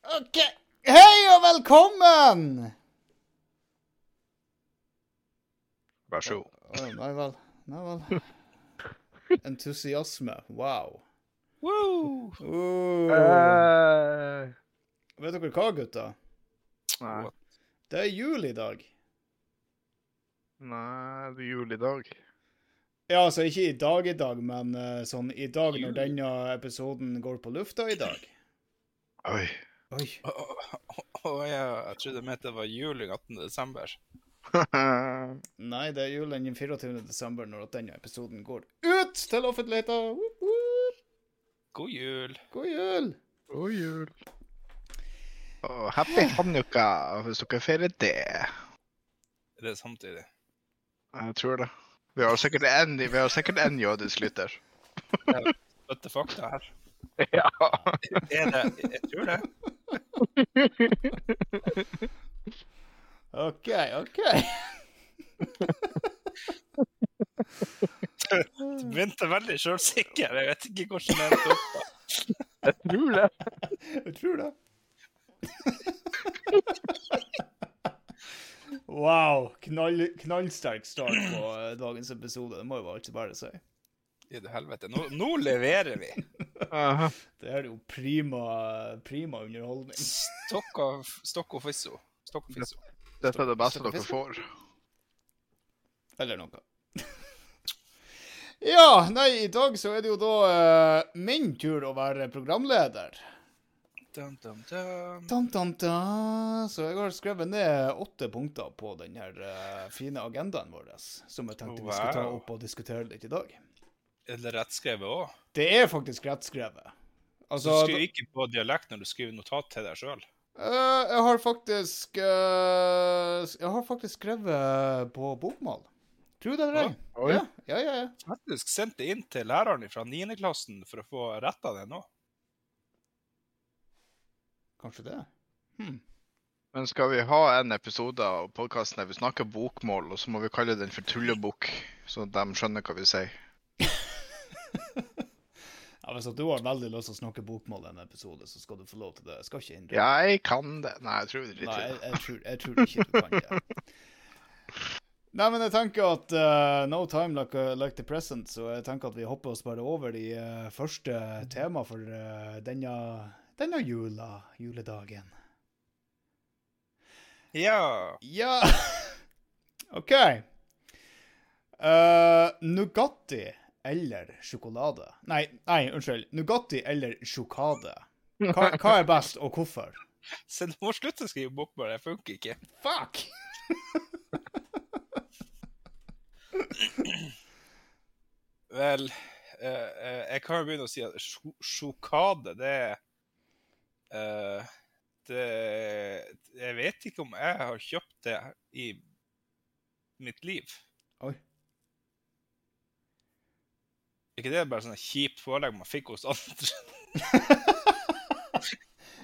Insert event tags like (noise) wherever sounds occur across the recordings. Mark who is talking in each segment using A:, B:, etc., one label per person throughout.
A: Ok. Hei og velkommen!
B: Vær så god.
A: Å, nei vel. Nei vel. Entusiasme. Wow.
C: Eh,
A: Oh. Vet dere hva, gutter?
C: Nei.
A: Det er jul i dag.
C: Nei, det er jul i dag.
A: Ja, altså ikke i dag i dag, men eh, sånn i dag når denne episoden går på lufta i dag.
C: Oi.
A: Oi.
B: Å, å, å, å, ja. Jeg trodde jeg mente det var jul 18. desember.
A: Nei, det er julen den 24. desember når at denne episoden går ut til offentligheten. Woop, woop.
B: God jul.
A: God jul!
C: (laughs) God jul. Og happy Hanukka, hvis dere feirer det.
B: Er det samtidig?
C: Jeg tror det. Vi har sikkert en, vi har sikkert en jødisk
A: (laughs)
C: lytter.
B: Dette fakta her.
C: Ja.
B: Er det Jeg tror det.
A: OK, OK.
B: Du begynte veldig sjølsikker. Jeg vet ikke hvordan det endte opp. da.
C: Jeg tror det.
A: Jeg tror det. wow. Knall, knallsterk start på eh, dagens episode. Det må jo bare ikke bare si.
B: I det helvete. Nå, nå leverer vi.
C: Aha.
A: Det er jo prima, prima underholdning.
B: Stokk og, stokk og fisso. Stokk og fisso.
C: Dette er det beste dere får.
A: Eller noe. ja, nei, i dag så er det jo da eh, min tur å være programleder.
B: Dum, dum, dum.
A: Dun, dun, dun. Så jeg har skrevet ned åtte punkter på den her eh, fine agendaen vår, som jeg tenkte vi skulle ta
B: Wow.
A: opp og diskutere litt i dag.
B: Er det rettskrevet òg?
A: Det er faktisk rettskrevet.
B: Du
A: Altså,
B: skriver ikke på dialekt når du skriver notat til deg sjøl.
A: eh, jeg har faktisk eh, Jeg har faktisk skrevet på bokmål. Tror du det eller ei?
C: Oi.
A: Ja, ja, ja. ja.
B: Faktisk sendt det inn til læreren fra 9. klassen for å få retta det nå.
A: Kanskje det.
C: Men skal vi ha en episode av podkasten der vi snakker bokmål, og så må vi kalle den for tullebukk, så de skjønner hva vi sier.
A: Ja, Hvis at du har veldig lyst til å snakke bokmål i en episode, så skal du få lov til det. Jeg skal ikke hindre
C: Jeg kan det. Nei, jeg tror det
A: Nei, jeg,
C: er
A: jeg, tror, jeg tror ikke du kan det. (laughs) Nei, men jeg tenker at eh, no time like, uh, like the present, så jeg tenker at vi hopper oss bare over i eh, første tema for eh, denne, denne jula, juledagen.
B: Ja.
A: Ja! (laughs) OK. Eh, Nugatti eller sjokolade? Nei, nei, unnskyld. Nugatti eller sjokade? Hva, hva er best, og hvorfor?
B: Så du må slutte å skrive bokmål. Det funker ikke.
A: Fuck!
B: Vel, eh, eh, jeg kan jo begynne å si at sjo- sjokade, det er eh, det, Jeg vet ikke om jeg har kjøpt det i mitt liv.
A: Oi.
B: Er ikke det bare sånn kjipt forelegg man fikk hos andre? (laughs)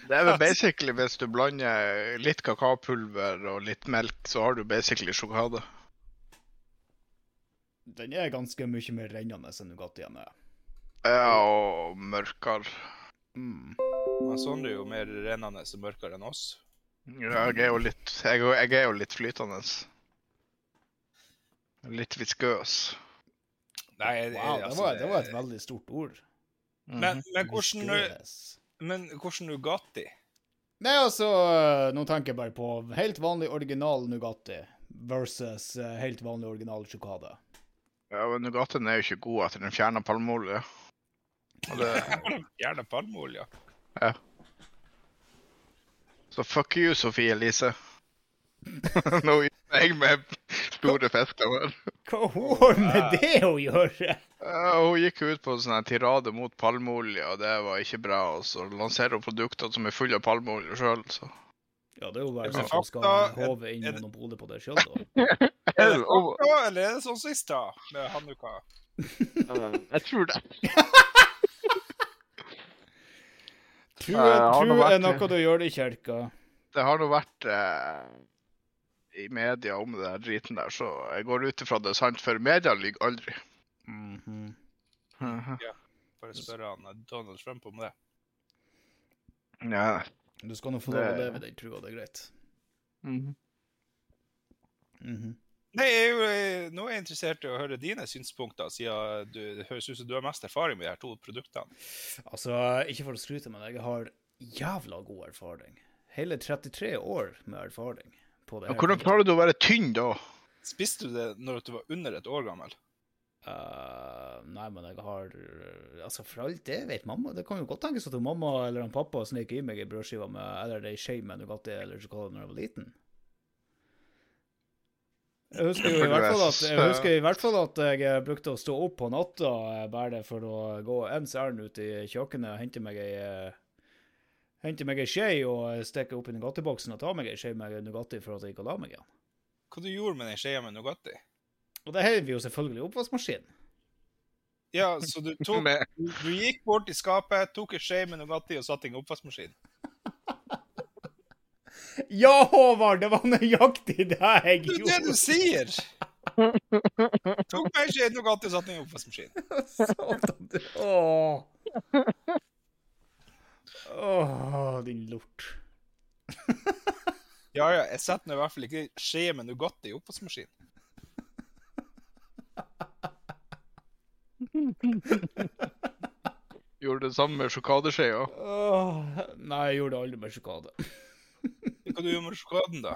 C: Det er vel basically hvis du blander litt kakaopulver og litt melk, så har du basically sjokade.
A: Den er ganske mye mer rennende enn Nugattien er.
C: Ja, og mørkere.
A: Mm.
B: Men sånn er jo mer rennende og mørkere enn oss.
C: Jeg er jo litt, jeg, er- jeg er jo litt flytende. Litt viskøs.
B: Nei, jeg- jeg-
A: Wow, det
B: altså,
A: var, det var et veldig stort ord.
C: Mhm.
B: Men, men hvordan
A: Viskeres.
B: Men hvordan Nugatti?
A: Nei, altså, nå tenker jeg bare på helt vanlig original Nugatti versus eh, helt vanlig original sjokade.
C: Ja, men Nugatten er jo ikke god etter den fjerna palmeolje. Og det,
B: Gjerne palmeolje.
C: så fuck you, Sofie Elise. Nå gir jeg med store fester her.
A: Hva hun har med det å gjøre?
C: Ja, Eh, Hun gikk ut på en sånn her tirade mot palmeolje, og det var ikke bra. Og så lanserer hun produkter som er fulle av palmeolje sjøl, så
A: Ja, det er jo
B: Er
A: bare
B: det
A: sånn at hun skal
B: fakta?
A: håve inn
B: Er det-
A: monopolet på det sjøl, (laughs) da.
B: Er det fakta, eller er det sånn som i stad, med Hanukka?
C: Jeg tror det.
A: Tru,
C: Eh, har
A: tru
C: det vært-
A: er noe du gjør i kirka.
C: Det har nå vært eh, i media om den der driten der, så jeg går ut ifra det er sant, for media lyver aldri.
A: Mhm.
C: Mhm.
B: Bare spørre han eh, Donald Trump om det.
C: Ja,
A: Du skal nå få lov å
C: Det-
A: leve i den trua, det er greit. Mhm.
B: Nei, jeg, er jo, eh, nå er jeg interessert i å høre dine synspunkter, siden du, det høres ut som du har mest erfaring med de her to produktene.
A: Altså, ikke for å skryte, men jeg har jævla god erfaring. Hele 33 år med erfaring på det
C: Men hvordan klarer du å være tynn da?
B: Spiste du det når du var under et år gammel?
A: Eh, nei, men jeg har Altså, for alt det vet mamma Det kan jo godt tenkes at hun mamma eller han pappa snek i meg ei brødskive med eller ei skje med Nugatti eller sjokolade når jeg var liten. Jeg husker jo i hvert fall at jeg, husker i hvert fall at jeg eh, brukte å stå opp på natta eh, bare for å gå ens ærend ut i kjøkkenet og hente meg ei eh, Hente meg ei skje og eh, stikke opp i Nugattiboksen og ta meg ei skje med Nugatti for at jeg gikk og la meg igjen.
B: Hva du gjorde med den skjea med Nugatti?
A: Og det heiv vi jo selvfølgelig i oppvaskmaskinen.
B: Ja, så (laughs) du, tok,
C: Med,
B: du gikk bort til skapet, tok en skje med Nugatti og satte den i oppvaskmaskinen.
A: Ja, Håvard, det var nøyaktig det jeg
B: Det er jo det du sier! (laughs) Tok meg en skje Nugatti og satte den i oppvaskmaskinen.
A: Satan, du. Åh. Åh, din lort.
B: Ja ja, jeg setter nå i hvert fall ikke skje med Nugatti i oppvaskmaskinen.
C: gjorde det samme med sjokoladeskje òg.
A: Åh. Nei, jeg gjorde det aldri med sjokolade.
B: Hva du gjorde med sjokoladen, da?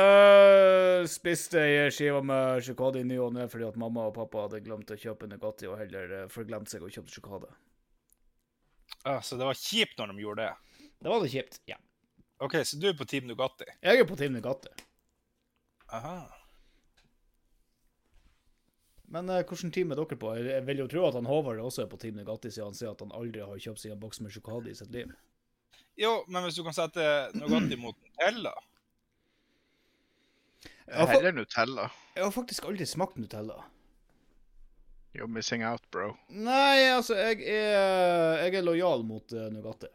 A: Eh, spiste ei skive med sjokolade i ny og ne fordi at mamma og pappa hadde glemt å kjøpe Nugatti og heller eh, forglemt seg og kjøpt sjokolade.
B: Ah, så det var kjipt når de gjorde det.
A: Det var litt kjipt. Ja.
B: OK, så du er på Team Nugatti.
A: Jeg er på Team Nugatti.
B: Aha.
A: Men eh, hvilken team er dere på? Jeg jeg vil jo tro at han Håvard også er på Team Nugatti, siden han sier at han aldri har kjøpt seg en boks med sjokolade i sitt liv.
B: Jo, men hvis du kan sette Nugatti mot Nutella
A: Ja, for-
C: Heller Nutella.
A: Jeg har faktisk aldri smakt Nutella.
C: You're missing out, bro.
A: Nei, altså, jeg er, jeg er lojal mot uh, Nugatti.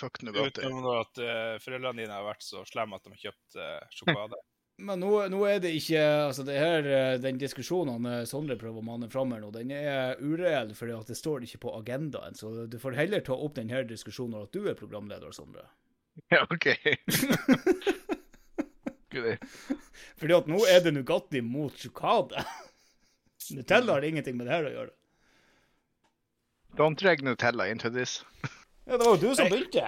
C: Fuck Nugatti.
B: Utenom da at eh, foreldrene dine har vært så slemme at de har kjøpt eh, sjokolade.
A: Men nå, nå er det ikke Altså, det her, eh, den diskusjonen han, eh, Sondre prøver å manne fram her nå, den er ureell fordi at det står ikke på agendaen. Så du får heller ta opp denne diskusjonen når at du er programleder, Sondre.
C: Ja, (laughs) OK. Gud,
A: Fordi at nå er det Nugatti mot sjokolade. (laughs) Nutella har ingenting med det her å gjøre.
C: Don't drag Nutella into this.
A: Ja, det var jo du som begynte.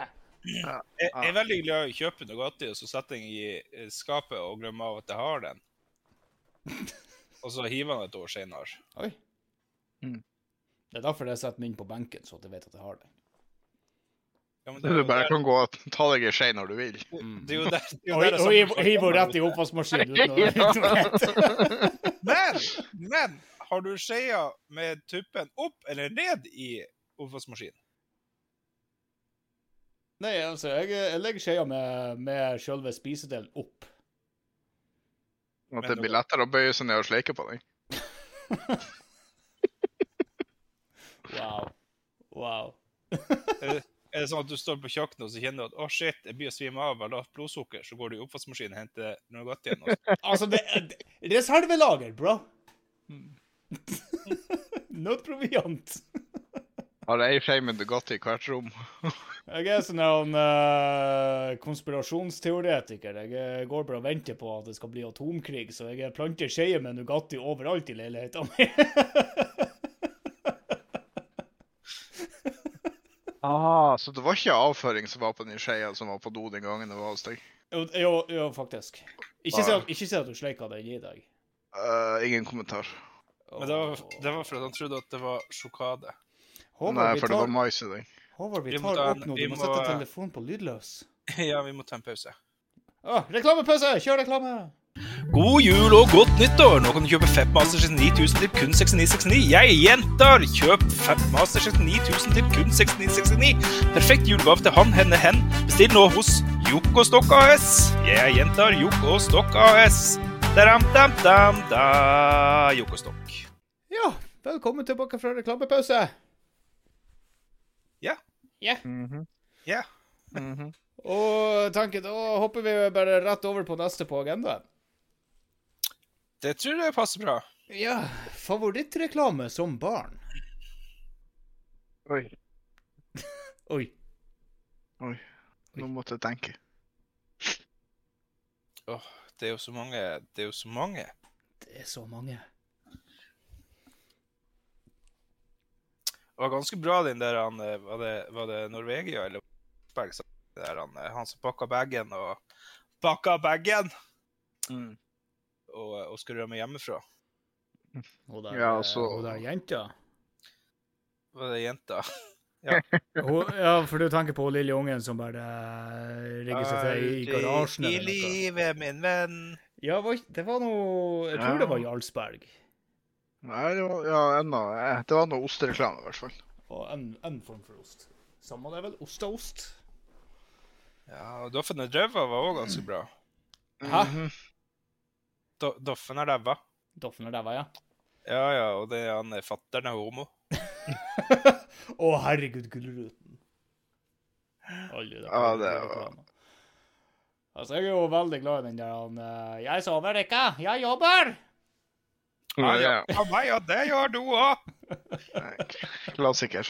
B: Jeg, jeg er veldig glad i å kjøpe Nugatti og så sette den i eh, skapet og glemme av at jeg har den. Og så hiver han et år senere.
A: Oi.
C: Mm.
A: Det er derfor jeg setter min på benken, så at jeg vet at jeg har den.
B: Ja, men det, er
C: Du
B: jo
C: bare
B: der-
C: kan gå og ta deg en skje når du vil.
A: Mm.
B: det er jo der, det er jo
A: Og
B: der det samme
A: hiv henne rett i oppvaskmaskinen
B: (laughs)
A: uten å uten å vite.
B: Men, men har du skjea med tuppen opp eller ned i oppvaskmaskinen?
A: Nei, altså, jeg, jeg legger skeia med, med sjølve spisedelen opp.
C: At det blir lettere å bøye seg ned og sleike på den.
A: Wow. Wow.
B: Er det sånn at du står på kjøkkenet og så kjenner du at å shit, jeg blir å svime av av lavt blodsukker, så går du i oppvaskmaskinen og henter Nugatti igjen? og-
A: Altså, det, det reservelager, bro. (laughs) Nødproviant.
C: Har ei skje med Nugatti i hvert rom.
A: Jeg er sånn en eh, konspirasjonsteoretiker. Jeg eh, går bare og venter på at det skal bli atomkrig, så jeg planter skeier med Nugatti overalt i leiligheten min. (laughs)
C: Ah, så det var ikke avføring som var på den skeia som var på do den gangen det var hos deg?
A: jo, jo, jo, faktisk. Ikke si at, ikke si at du sleika den i dag.
C: Eh, ingen kommentar.
B: Men det var, det var fordi han trodde at det var sjokade. (laughs)
A: Håvard,
C: Nei,
A: vi
C: for det
A: tar-
C: var mais i den.
A: Håvard, vi
B: Vi må
A: tar
B: ta en-
A: opp nå.
B: vi
A: Du må
B: må- eh,
A: sette telefonen på lydløs.
B: ja, vi må ta en pause.
A: Ah, reklamepause! Kjør reklame!
B: God jul og godt nyttår! Nå kan du kjøpe Fatmasters 9000 til kun 6969. Jeg jenter! Kjøp Fatmasters 9000 til kun 6969. Perfekt julegave til han, henne, hen. Bestill nå hos Jokk og Stokk AS. Jeg jenter Jokk og Stokk AS. Daram, dam, dam, da. Jokk og Stokk.
A: Ja, velkommen tilbake fra reklamepause.
B: Ja.
A: Ja.
C: Mhm,
B: Ja.
A: Og tanken, da hopper vi bare rett over på neste på agendaen.
B: Det tror jeg passer bra.
A: Ja, favorittreklame som barn.
C: Oi.
A: Oi.
C: Nå måtte jeg tenke.
B: Det er jo så mange. Det er jo så mange.
A: Det er så mange.
B: Det var ganske bra den der han eh, Var det, var det Norvegia eller Berg, som- der han, eh, han som pakka bagen og Pakka bagen! Mm. Og, eh, og skulle rømme hjemmefra.
A: Hun der,
C: Ja,
A: eh,
C: så-
A: hun der jenta.
B: Var det jenta?
A: Hun, ja, for du tenker på hun lille ungen som bare eh, rigger seg til i garasjen
B: I
A: eller noe.
B: livet, min venn.
A: Ja, var ikke- det var noe Jeg tror
C: Ja.
A: det var Jarlsberg.
C: Nei, det var, ja, ennå, eh, det var noe ostereklame, i hvert fall.
A: Og en, en form for ost. Samme det er vel ost og ost.
B: Ja, og Doffen er døva var òg ganske bra.
A: Hæ?
C: Mhm.
B: Do, doffen er daua.
A: Doffen er dæva, ja.
B: Ja, ja, og det er han fatter'n er homo.
A: Å, herregud, Gullruten. Alle de
C: Ja, det
A: der
C: var-
A: reklamene. Altså, jeg er jo veldig glad i den der han eh, 'Jeg sover ikke, jeg jobber'.
B: Ja,
C: Ja,
B: ja. ja, meg, ja, det gjør du òg!
C: Nei, Klassiker.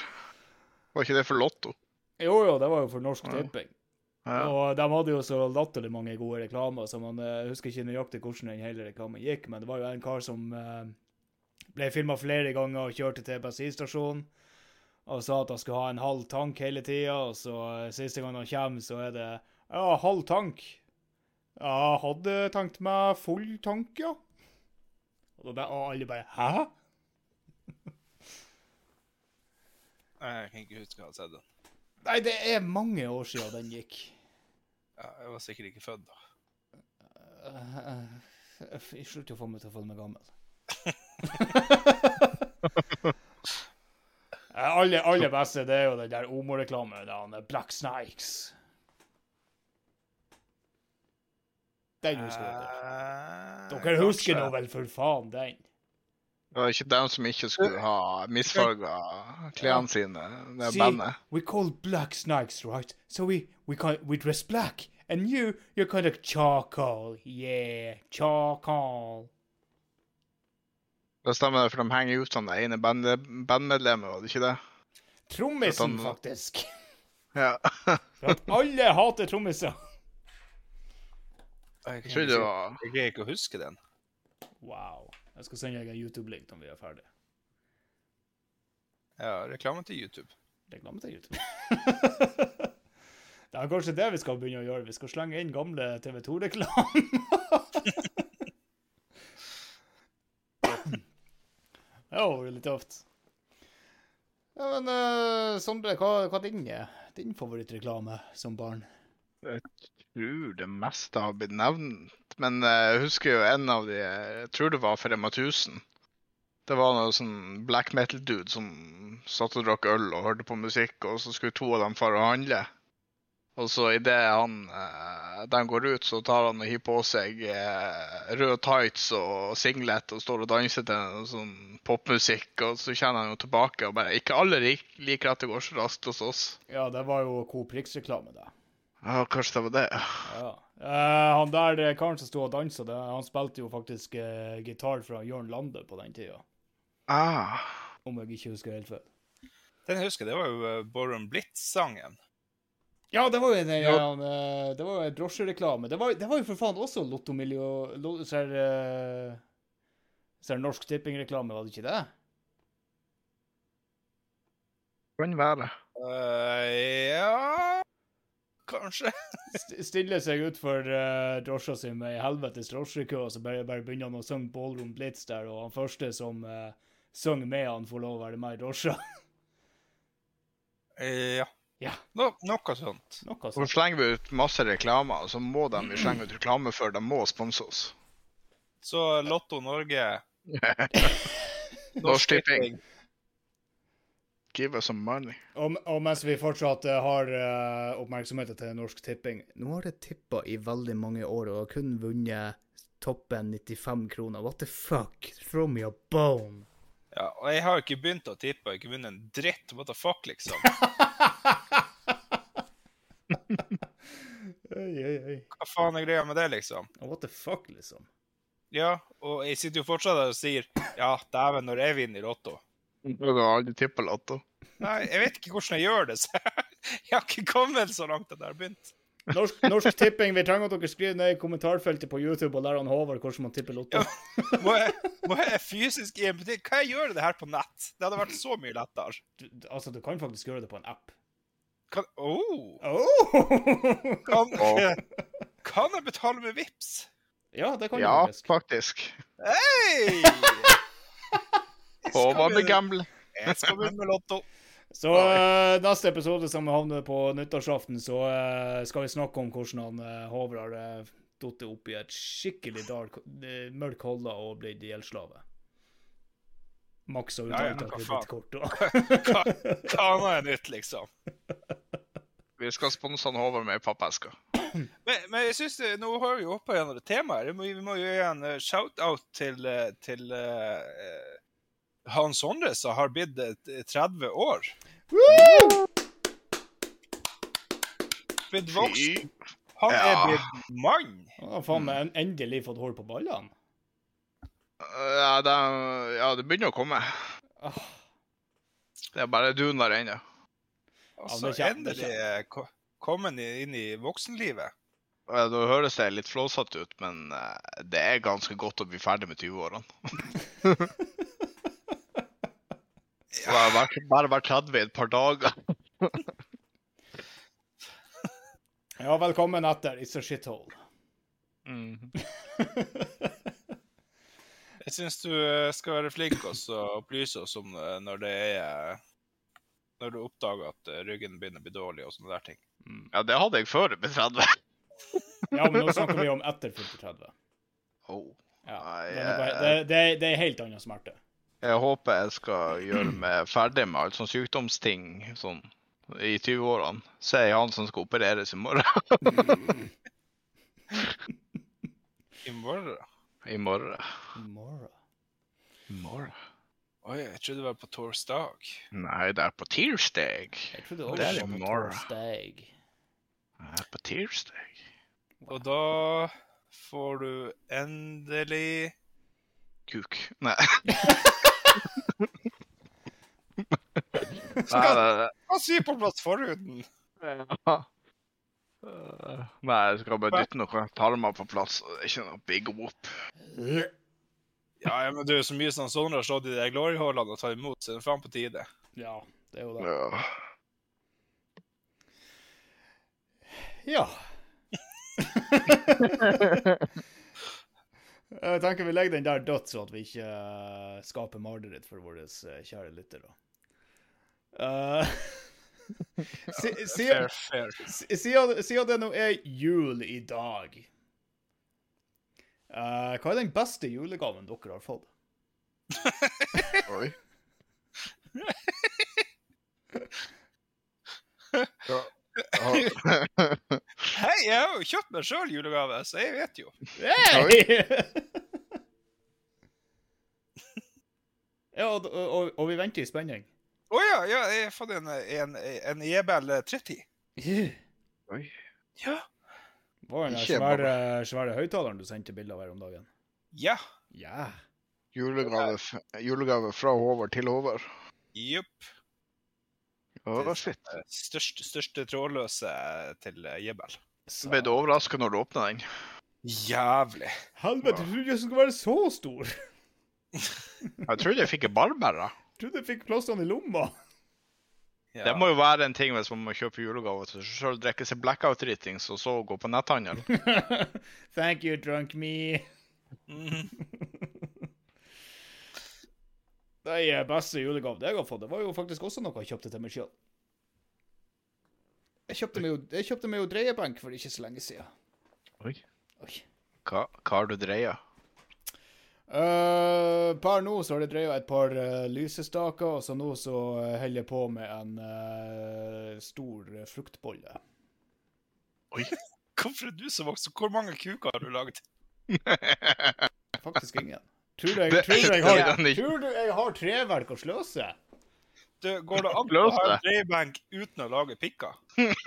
C: Var ikke det for Lotto?
A: Jo jo, det var jo for Norsk
C: Ja.
A: Tipping.
C: Ja.
A: Og de hadde jo så latterlig mange gode reklamer, så man eh, husker ikke nøyaktig hvordan den hele reklamen gikk, men det var jo en kar som eh, ble filma flere ganger og kjørte til bensinstasjonen og sa at han skulle ha en halv tank hele tida, og så eh, siste gang han kommer, så er det ja, halv tank. Ja, jeg hadde tenkt meg full tank, ja. Og da bare, og alle bare Hæ?
B: Jeg kan ikke huske å ha sett den.
A: Nei, det er mange år siden den gikk.
B: Ja, jeg var sikkert ikke født da.
A: Eh, eh, Jeg slutter å få meg til å føle meg
C: (laughs)
A: gammel. Eh, Aller aller beste det er jo den der Omo-reklamen. den der Black Snakes. Den husker
C: Eh,
A: dere. Dere husker nå vel for faen den?
C: Det var ikke dem som ikke skulle ha misfarga klærne sine, det
A: See,
C: bandet.
A: we call black snakes, right? So we we can we dress black, and you you're kind of charcoal, yeah, charcoal.
C: Det stemmer, for de henger ut han ene band, bandmedlemmet, var det ikke det?
A: Trommisen,
C: Sånn-
A: faktisk.
C: Ja.
A: For at alle hater trommiser.
B: Jeg
C: (laughs) Jeg tror det var
B: Jeg greier ikke å huske den.
A: Wow. Jeg skal sende deg en YouTube-link når vi er ferdig.
B: Ja, reklame til YouTube.
A: Reklame til YouTube. (laughs) det er kanskje det vi skal begynne å gjøre. Vi skal slenge inn gamle TV 2-reklamer. det var jo litt tøft. Ja, men eh, Sondre, hva, hva din er din favorittreklame som barn?
C: tror det meste har blitt nevnt. Men eh, jeg husker jo en av de Jeg tror det var Frema 1000. Det var noe sånn black metal-dude som satt og drakk øl og hørte på musikk, og så skulle to av dem fare og handle. Og så idet han eh, de går ut, så tar han og hiver på seg eh, røde tights og singlet og står og danser til noe sånn popmusikk, og så kjenner han jo tilbake og bare Ikke alle lik- liker at det går så raskt hos oss.
A: Ja, det var jo Coop Rix-reklame, det.
C: Ja, kanskje det var det.
A: Ja. Eh, han der eh, karen som sto og dansa, det- han spilte jo faktisk eh, gitar fra Jørn Lande på den tida.
C: Ah.
A: Om jeg ikke husker helt feil.
B: Den jeg husker, det var jo eh, Borum Blitz-sangen.
A: Ja, det var jo en,
C: Ja.
A: ja, eh, det var jo en drosjereklame. Det var, det var jo for faen også Lottomiljø... Lo, ser, eh, ser Norsk Tipping-reklame, var det ikke det?
C: Kan være.
B: Eh, ja Kanskje.
A: St stiller seg utfor uh, drosja si med ei helvetes drosjekø, og så bare, bare begynner han å synge Ballroom Blitz der, og han første som uh, synger med han, får lov å være med i drosja. (laughs)
B: Eh, ja.
A: Ja.
B: No, noe sånt.
A: Noe
C: Så
A: sånt.
C: slenger vi ut masse reklamer, så må de vi slenger ut reklame før de må sponse oss.
B: Så Lotto Norge
C: (laughs) Norsk Tipping. Give us some money.
A: Og, og mens vi fortsatt eh, har eh, oppmerksomheten til Norsk Tipping Nå har det tippa i veldig mange år og har kun vunnet toppen 95 kroner. What the fuck? Throw me a bone.
B: Ja, og jeg har jo ikke begynt å tippe, jeg har ikke vunnet en dritt. What the fuck, liksom.
A: Oi, oi, oi.
B: Hva faen er greia med det, liksom?
A: Og What the fuck, liksom?
B: Ja, og jeg sitter jo fortsatt der og sier ja, dæven, når jeg vinner i Lotto.
C: Du har aldri tippa Lotto.
B: Nei, jeg vet ikke hvordan jeg gjør det, så (laughs) jeg, Jeg har ikke kommet så langt at jeg har begynt.
A: Norsk, norsk Tipping, vi trenger at dere skriver ned i kommentarfeltet på YouTube og lærer han Håvard hvordan man tipper lotto.
B: Må jeg, må jeg fysisk i en butikk? Kan jeg gjøre det her på nett? Det hadde vært så mye lettere.
A: Du- Altså, du kan faktisk gjøre det på en app.
B: Kan, oh,
A: Oh!
B: kan,
C: Åh.
B: kan jeg betale med VIPs?
A: (laughs) Ja, det kan du
C: Ja,
A: faktisk.
C: faktisk.
B: Hei!
C: Håvard blir
B: Jeg skal
C: gammel.
B: jeg skal begynne med lotto.
A: Så eh, neste episode som havner på nyttårsaften, så eh, skal vi snakke om hvordan han eh, Håvard har eh, falt opp i et skikkelig dark, eh, mørk holde og blitt gjeldsslave. Max har
B: Ja, ja,
A: uttalt
B: hva
A: at vi er
B: faen?
A: blitt kort. og-
B: (laughs) Hva, hva annet er nytt, liksom?
C: Vi skal sponse han Håvard med ei pappeske.
B: Men, men jeg synes det, nå har vi jo hoppa gjennom det temaet. Vi må, vi må jo gi en eh, shout-out til, eh, til eh, eh, Hans Sondre, som har blitt eh, 30 år. Blitt voksen. Han er
C: Ja.
B: blitt mann.
A: Han har faen meg en- endelig fått hull på ballene.
C: Ja, det, ja, det begynner å komme.
A: Ah,
C: Det er bare dunar ennå.
B: Altså,
A: det kjen- det
B: endelig eh, ko- kommet i- inn i voksenlivet.
C: Ja, Da høres det litt flåsete ut, men eh, det er ganske godt å bli ferdig med (laughs) 20-årene. Og jeg har vært- bare vært 30 i et par dager.
A: Ja, velkommen etter. It's a shithole.
C: Mhm.
B: Jeg syns du eh, skal være flink også og opplyse oss om eh, når det er eh, Når du oppdager at eh, ryggen begynner å bli dårlig og sånne der ting.
C: Ja, det hadde jeg før jeg ble 30.
A: Ja, men nå snakker vi om etter fylte 30.
C: Oh.
B: Ah,
A: Ja.
C: Nei,
A: Det, er noe, det, det, er- det er helt annen smerte.
C: Jeg håper jeg skal gjøre meg ferdig med alt sånn sykdomsting sånn, i 20-årene. Så er jeg han som skal opereres i morgen. (laughs)
B: I morgen?
C: I morgen.
A: Mora.
B: Oi, jeg trodde det var på torsdag.
C: Nei, det er på tirsdag.
A: Jeg trodde
C: Det
A: også
C: er
A: det var
C: Mora.
A: på torsdag.
C: Det er på tirsdag.
B: Og da får du endelig
C: Kuk. Nei. Nei, det, det.
B: Hva sier på plass forhuden?
C: Ja. Øh, Nei, jeg skal bare dytte noen tarmer på plass. og det er Ikke noe big whoop.
B: Ja, ja, men du, så mye som Sondre har slått i de gloryhullene og tatt imot, så det er faen på tide.
A: Ja, det er jo det.
C: Ja.
A: Ja. (laughs) Jeg tenker vi legger den der dødt, så at vi ikke eh, skaper mareritt for våre eh, kjære lyttere. Eh, (laughs)
B: (laughs)
A: si-
B: Fair,
A: Siden
B: fair.
A: si- siden- siden det nå er jul i dag eh, Hva er den beste julegaven dere har fått?
C: Oi.
B: Hei, jeg har jo kjøpt meg sjøl julegave, så jeg vet jo.
A: Hey! (laughs) ja, og, og, og vi venter i spenning. (laughs)
B: Å ja, ja, jeg har fått en, en, en Ebel 30.
C: Oi.
B: Ja.
A: Var den der
C: Ikke
A: svære, svære høyttaleren du sendte bilder av her om dagen?
B: Ja.
A: Ja.
C: Julegave, f- julegave fra Håvard til Håvard.
B: Jupp.
C: Å, shit.
B: Største, største trådløse til Jebel.
C: Ble du overraska når du åpna den?
B: Jævlig.
A: Helvete, jeg trodde ikke den skulle være så stor!
C: Jeg trodde jeg fikk en barbera.
A: Jeg trodde jeg fikk plassene i lomma. (laughs)
B: Ja.
C: Det må jo være en ting hvis man må kjøpe julegave til seg sjøl, drikke seg blackout-dritings og så gå på netthandel.
A: Thank you, drunk me.
B: Mhm.
A: Den eh, beste julegaven jeg har fått, det var jo faktisk også noe jeg kjøpte til meg sjøl. Jeg kjøpte meg jo, jeg kjøpte meg jo dreiebenk for ikke så lenge siden.
C: Oi.
A: Oi.
C: Hva, hva har du dreia?
A: Eh, per nå så har det dreia et par eh, lysestaker, og så nå så eh, holder jeg på med en eh, stor eh, fruktbolle.
B: Hvorfor er du så voksen? Hvor mange kuker har du laget?
A: Faktisk ingen. Tror du jeg,
C: Det-
A: tror du jeg,
C: det
A: har,
C: er den ikke.
A: tror du jeg har treverk å sløse?
B: Du, går det an å
C: Løs
B: ha en
C: det.
B: dreiebenk uten å lage pikker?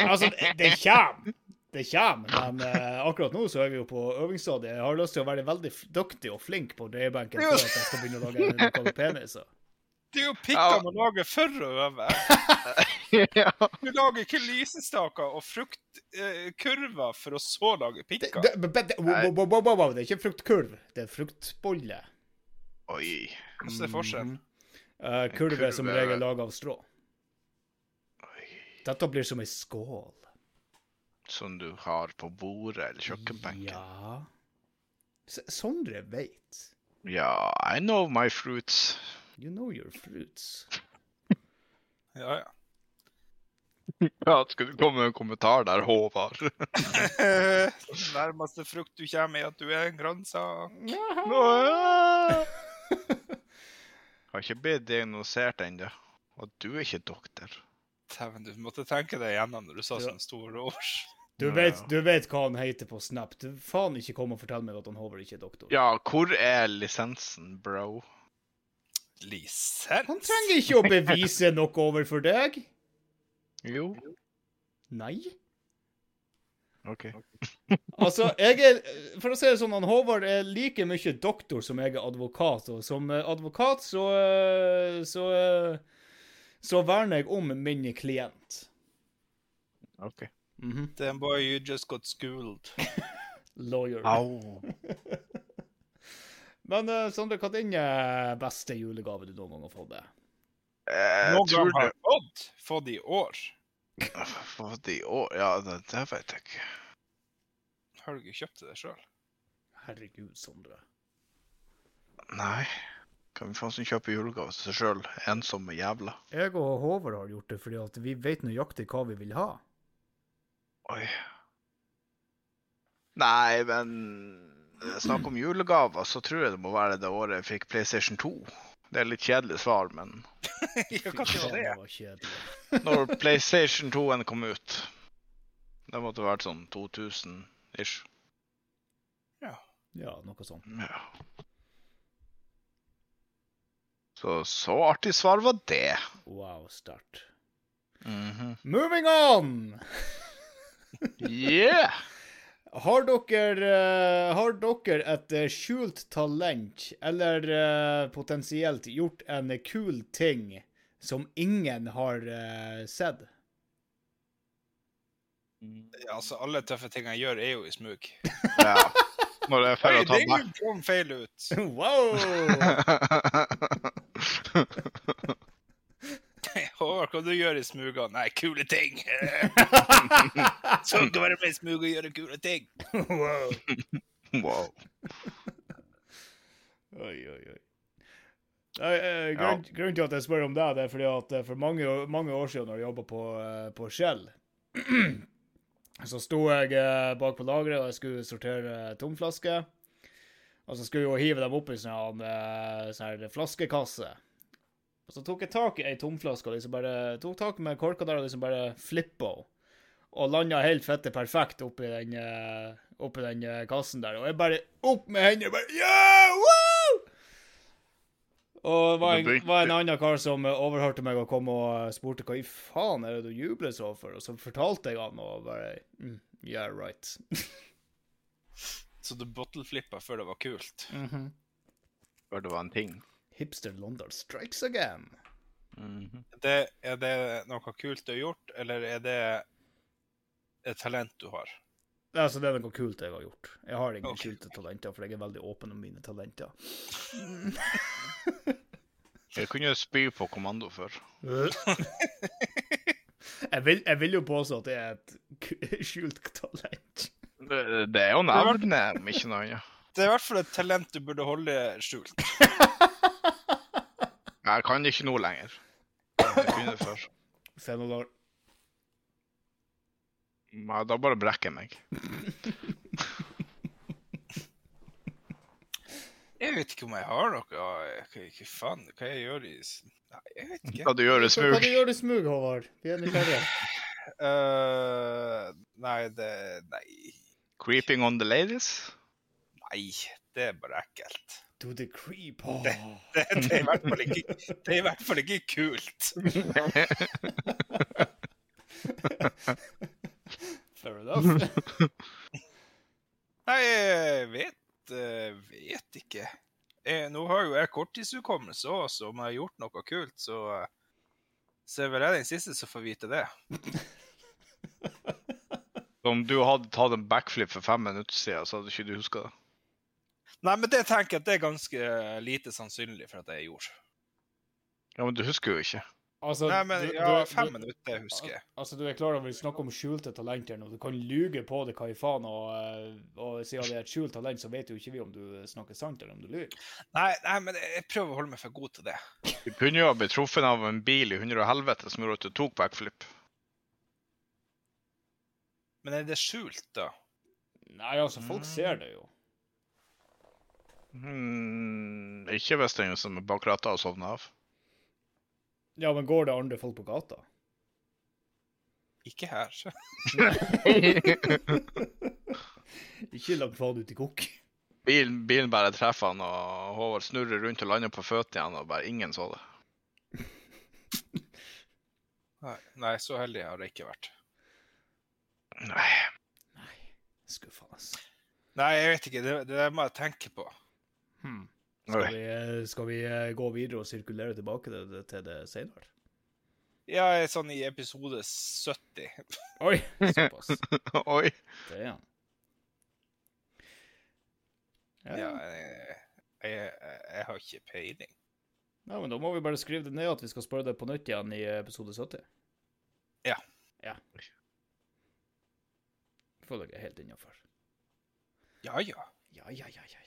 A: Altså, det, det kommer! Det kommer, men eh, akkurat nå så er vi jo på øvingsstadiet. Jeg har lyst til å være veldig f- dyktig og flink på dreiebenken før at jeg skal begynne å lage noe med peniser.
B: Det er jo
C: Ja.
B: pikka man lager for å øve.
C: (laughs) ja.
B: Du lager ikke lysestaker og fruktkurver for å så lage
A: Det,
B: pikker.
A: det, men- men det, wow, wow, wow, wow, wow, det er ikke fruktkurv, det er fruktbolle.
C: Oi.
B: Hvordan er forskjellen?
A: Eh, kurv er som
C: kurv er-
A: regel laga av strå.
C: Oi.
A: Dette blir som ei skål.
C: Som du har på bordet eller kjøkkenbenken.
A: Ja S Sondre veit.
C: Ja. I know my fruits.
A: You know your fruits. (laughs)
B: Ja, ja.
C: Ja, skulle du komme med en kommentar der, (laughs) Håvard?
B: Nærmeste frukt du kommer, er at du er en grønnsak.
C: har ikke blitt diagnosert ennå. Og du er ikke doktor.
B: Dæven, du måtte tenke deg igjennom når du sa
A: Ja.
B: sånne store ord.
A: Du
C: Ja.
A: vet, du vet hva han heter på Snap. Du faen ikke kom og fortell meg at han Håvard ikke er doktor.
C: Ja, hvor er lisensen, bro?
B: Lisens?
A: Han trenger ikke å bevise noe overfor deg.
C: Jo.
A: Nei.
C: OK.
A: Altså, jeg er For å si det sånn, han Håvard er like mye doktor som jeg er advokat, og som eh, advokat så eh, Så, eh, så verner jeg om min klient.
C: ok.
A: Mhm.
B: Damn boy, you just got schooled.
A: Lawyer.
C: Au.
A: Men eh, Sondre, hva er din eh, beste julegave du noen gang har fått? deg?
C: Eh,
B: Noen
C: tror
B: gang
C: du
B: har jeg fått, fått i år.
C: For de år Ja, det, det vet jeg ikke.
B: Har du ikke kjøpt det sjøl?
A: Herregud, Sondre.
C: Nei. Kan vi faen som kjøpe julegave til seg sjøl? Ensomme jævla.
A: Jeg og Håvard har gjort det fordi at vi vet nøyaktig hva vi vil ha.
C: Oi. Nei, men Snakk om julegaver, så tror jeg det må være det året jeg fikk PlayStation 2. Det er litt kjedelig svar, men
B: ja, hva
A: Fy
B: var
A: faen,
B: det?
A: var kjedelig.
C: (laughs) Når PlayStation 2-en kom ut Det måtte vært sånn 2000-ish.
A: Ja, noe sånt.
C: Ja. Så så artig svar var det.
A: Wow, sterkt.
C: Mhm.
A: Moving on!
C: Yeah!
A: Har dere, eh, har dere et eh, skjult talent, eller eh, potensielt gjort en kul ting som ingen har eh, sett? (laughs)
B: Ja, altså, alle tøffe ting jeg gjør, er jo i smug.
C: Ja. Når det er
B: Oi,
C: for å ta
B: det kom feil ut.
A: Wow!
B: (laughs)
A: (laughs)
C: meg.
B: Håvard, hva du gjør i smuga? Nei, kule ting. Skal ikke være med i smuga og gjøre kule ting.
A: wow.
C: (laughs) wow.
A: Oi, oi, oi. Nei, eh, grunn, Grunnen til at jeg spør om deg, det er fordi at eh, for mange, mange år siden når jeg jobba på, eh, på Shell, (clears throat) så sto jeg eh, bak på lageret og jeg skulle sortere eh, tomflasker. Og så skulle jeg jo hive dem opp i sånn eh, sånn her flaskekasse. Og så tok jeg tak i ei tomflaske og liksom bare tok tak med korka der og liksom bare flippa henne. Og landa helt fette perfekt oppi den, eh, oppi den eh, kassen der. Og jeg bare opp med hendene og bare yeah, wow! Og det var
C: Og da
A: en,
C: begynte-
A: var en annen kar som eh, overhørte meg og kom og eh, spurte hva i faen er det du jubler så for? Og så fortalte jeg han og bare mm, Yeah, right.
B: Så du bottleflippa før det var kult.
C: Før det var en ting.
A: (laughs) Hipster London strikes again.
C: Mhm.
B: Det, er det noe kult du har gjort, eller er det et talent du har?
A: Det er altså det er noe kult jeg har gjort. Jeg har ingen
B: Ok.
A: skjulte talenter, for jeg er veldig åpen om mine talenter.
C: Jeg kunne jo spy på kommando før.
A: jeg, vil, (laughs) jeg vil jo påstå at det er et k- (laughs) skjult talent.
C: Det, det er jo en evne, om ikke noe annet.
B: Det er i hvert fall et talent du burde holde skjult.
C: Jeg kan ikke nå lenger. Jeg kunne det før.
A: Fenolor.
C: Nei, Da bare brekker jeg meg.
B: Jeg vet ikke om jeg har noe Hva, hva faen, hva jeg gjør i s- Nei, jeg vet ikke.
C: Hva du gjør i
A: Hva hva
C: smug.
A: du gjør du smug, Håvard? Vi er nysgjerrige.
B: Eh, nei, det Nei.
C: Creeping on the ladies?
B: Nei, det er bare ekkelt.
A: To the creep. Oh.
B: (laughs) Det, det, er, i hvert fall ikke, det er i hvert fall ikke kult.
A: Fair enough.
B: Nei, jeg vet, eh, vet ikke. jeg, nå har jo jeg korttidshukommelse òg, så om jeg har gjort noe kult, så eh, så er vel jeg den siste som får vite det.
C: Om du hadde tatt en backflip for fem minutter siden, så hadde ikke du huska det.
B: Nei, men det tenker jeg at det er ganske eh, lite sannsynlig for at jeg gjorde.
C: Ja, men du husker jo ikke.
A: (laughs) Altså,
B: Nei, men
A: du-
B: ja,
A: du-
B: fem
A: du-
B: minutter, det husker jeg.
A: Altså, du er klar over at vi snakker om skjulte talenter nå. Du kan luge på det hva i faen, og, eh, og siden det er et skjult talent, så vet jo ikke vi om du snakker sant eller om du lyver.
B: Nei, nei, men jeg prøver å holde meg for god til det.
C: Du kunne jo ha blitt truffet av en bil i hundre og helvete som gjorde at du tok backflip.
B: Men er det skjult, da?
A: Nei, altså, folk
C: Mm.
A: ser det jo.
C: Hmm, ikke hvis det er en som er bak rattet og sovner av.
A: Ja, men går det andre folk på gata?
B: Ikke her. (laughs)
A: Ikke langt faen ut i kokk.
C: Bilen, bilen bare treffer han, og Håvard snurrer rundt og lander på føttene igjen, og bare ingen så det.
B: Nei, nei, så heldig har jeg ikke vært.
C: Nei.
A: Nei, skuffende.
B: Nei, jeg vet ikke. Det, det der må jeg tenke på.
A: Hmm. Skal,
C: Oi.
A: vi, eh, skal vi eh, gå videre og sirkulere tilbake til det, til det senere?
B: Ja, jeg er sånn i episode 70.
A: Oi, (laughs) såpass.
C: (laughs) Oi.
A: Det er han. Ja,
B: Ja,
A: ja.
B: jeg, jeg, jeg har ikke peiling.
A: ja, men da må vi bare skrive det ned at vi skal spørre deg på nytt igjen i episode 70.
B: Ja.
A: Ja. Føler jeg er helt innafor.
B: Ja, ja.
A: Ja, ja, ja, ja, ja.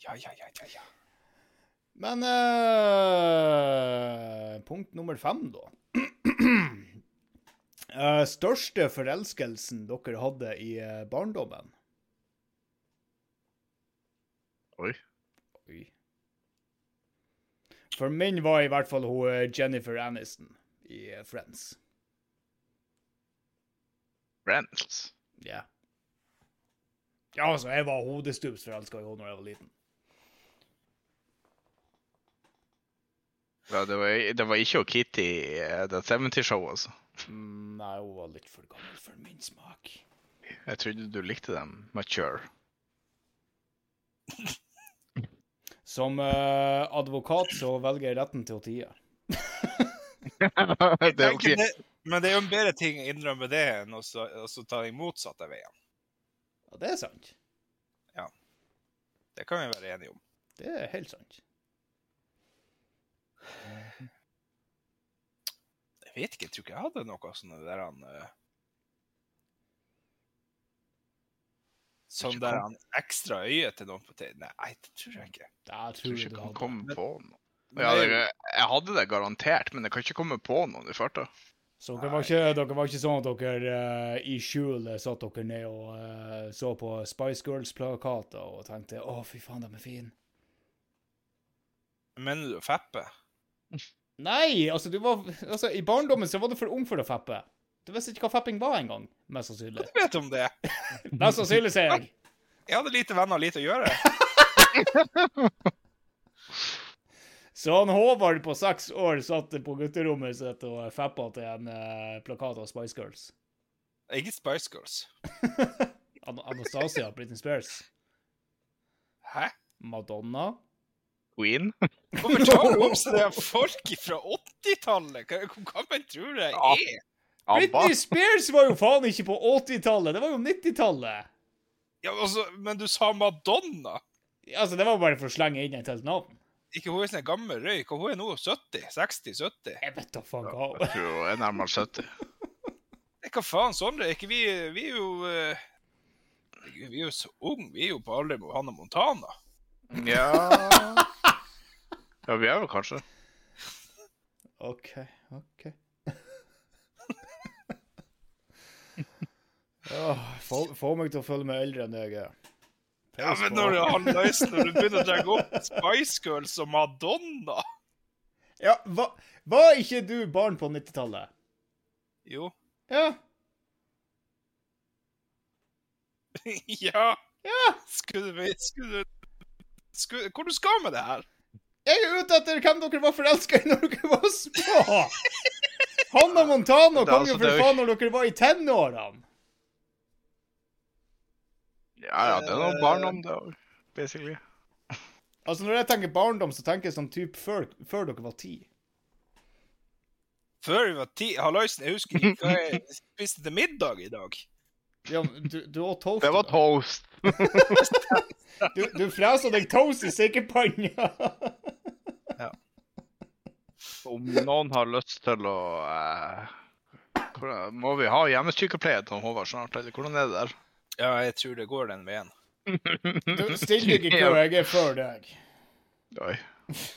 B: Ja, ja, ja, ja, ja.
A: Men eh, punkt nummer fem, da. (clears throat) Eh, største forelskelsen dere hadde i eh, barndommen?
C: Oi.
A: Oi. For min var i hvert fall hun eh, Jennifer Aniston i eh, Friends.
C: Rents.
A: Ja. Ja, altså, jeg var hodestups forelska i henne da jeg var liten.
C: Ja, det, var, det var ikke jo Kitty i eh, The 70 Show, altså.
A: Mm, nei, hun var litt for gammel for min smak.
C: Jeg trodde du likte dem
A: (laughs)
C: mature.
A: Som eh, advokat så velger jeg retten til å tie.
C: det er jo
B: Tenker
C: ikke...
B: det- men det er jo en bedre ting å innrømme det enn å så- å så ta den motsatte veien.
A: Ja, det er sant.
B: Det kan vi være enige om.
A: Det er helt sant.
B: Jeg vet ikke, jeg tror ikke jeg hadde noe sånn det der han eh, Sånn
C: Ikke
B: der
C: kom-
B: han ekstra øye til noen på TV. Nei, det tror jeg ikke.
A: Jeg
C: Jeg
A: tror
C: tror
A: jeg
C: ikke
A: du
C: han
A: hadde.
C: kom på noe. Ja, det, jeg hadde det garantert, men jeg kan ikke komme på noen i farta.
A: Så dere var, ikke, dere var ikke sånn at dere eh, i skjulet satt dere ned og eh, så på Spice Girls-plakater og tenkte 'Å, fy faen, de er fine'?
B: Mener du Feppe?
A: Nei, altså, du var, altså i barndommen så var du for ung for å feppe. Du visste ikke hva fepping var engang, mest sannsynlig.
B: Jeg vet om det.
A: Mest sannsynlig, sier jeg.
B: Jeg hadde lite venner og lite å gjøre.
A: Så han Håvard på seks år satt på gutterommet sitt og feppa til en eh, plakat av Spice Girls.
B: Ikke Spice Girls.
A: An Anastasia, Britney Spears,
B: Hæ?
A: Madonna
C: Queen?
B: (laughs) Hvorfor tar du opp så det er folk fra 80-tallet? Hva- Hvor gammel tror du jeg
C: Ja.
B: er?
C: ABBA?
A: (laughs) Britney Spears var jo faen ikke på 80-tallet, det var jo 90-tallet.
B: Ja, men altså, men du sa Madonna.
A: Altså, det var bare for å slenge inn et helt navn.
B: Ikke hun er sånn gammel røyk, og hun er nå 70. 60-70.
A: Jeg vet da faen hva.
C: Jeg tror jeg er
A: (laughs)
C: nærmere 70.
B: Nei, Hva faen, sånn røyk? Vi, vi er jo eh, Herregud, Vi er jo så unge. Vi er jo på alder med Hanne Montana.
C: Ja Ja, vi er vel kanskje
A: OK, OK. Åh, få, få meg til å føle meg eldre enn jeg er.
B: Ja, men når du har løs, når du begynner å dra opp (laughs) Spice Girls og Madonna
A: Ja, hva, var ikke du barn på 90-tallet?
B: Jo.
A: Ja.
B: (laughs) Ja.
A: Ja.
B: Skulle vi Skulle skulle, Hvor du skal med det her?
A: Jeg er ute etter hvem dere var forelska i når dere var små! Hanna Montana
C: Det er
A: kom
C: altså-
A: jo
C: det er
A: for
C: jo-
A: faen når dere var i tenårene!
C: Ja, ja, det er noen barn om det òg, basically.
A: Altså, når jeg tenker barndom, så tenker jeg sånn type før, før dere var ti.
B: Før vi var ti Halloisen, jeg husker ikke hva
A: (laughs)
B: jeg spiste til middag i dag.
A: Ja, men du, du åt toast.
C: Det var
A: i dag.
C: toast.
A: Du, du fresa deg toast i stekepanna.
C: Om noen har lyst til å eh, hvordan- Må vi ha hjemmesykepleie til Håvard snart, eller hvordan er det der?
B: Ja, jeg tror det går den veien.
A: Du, still deg
C: (laughs)
A: i kø, jeg er før deg.
C: Oi. (laughs)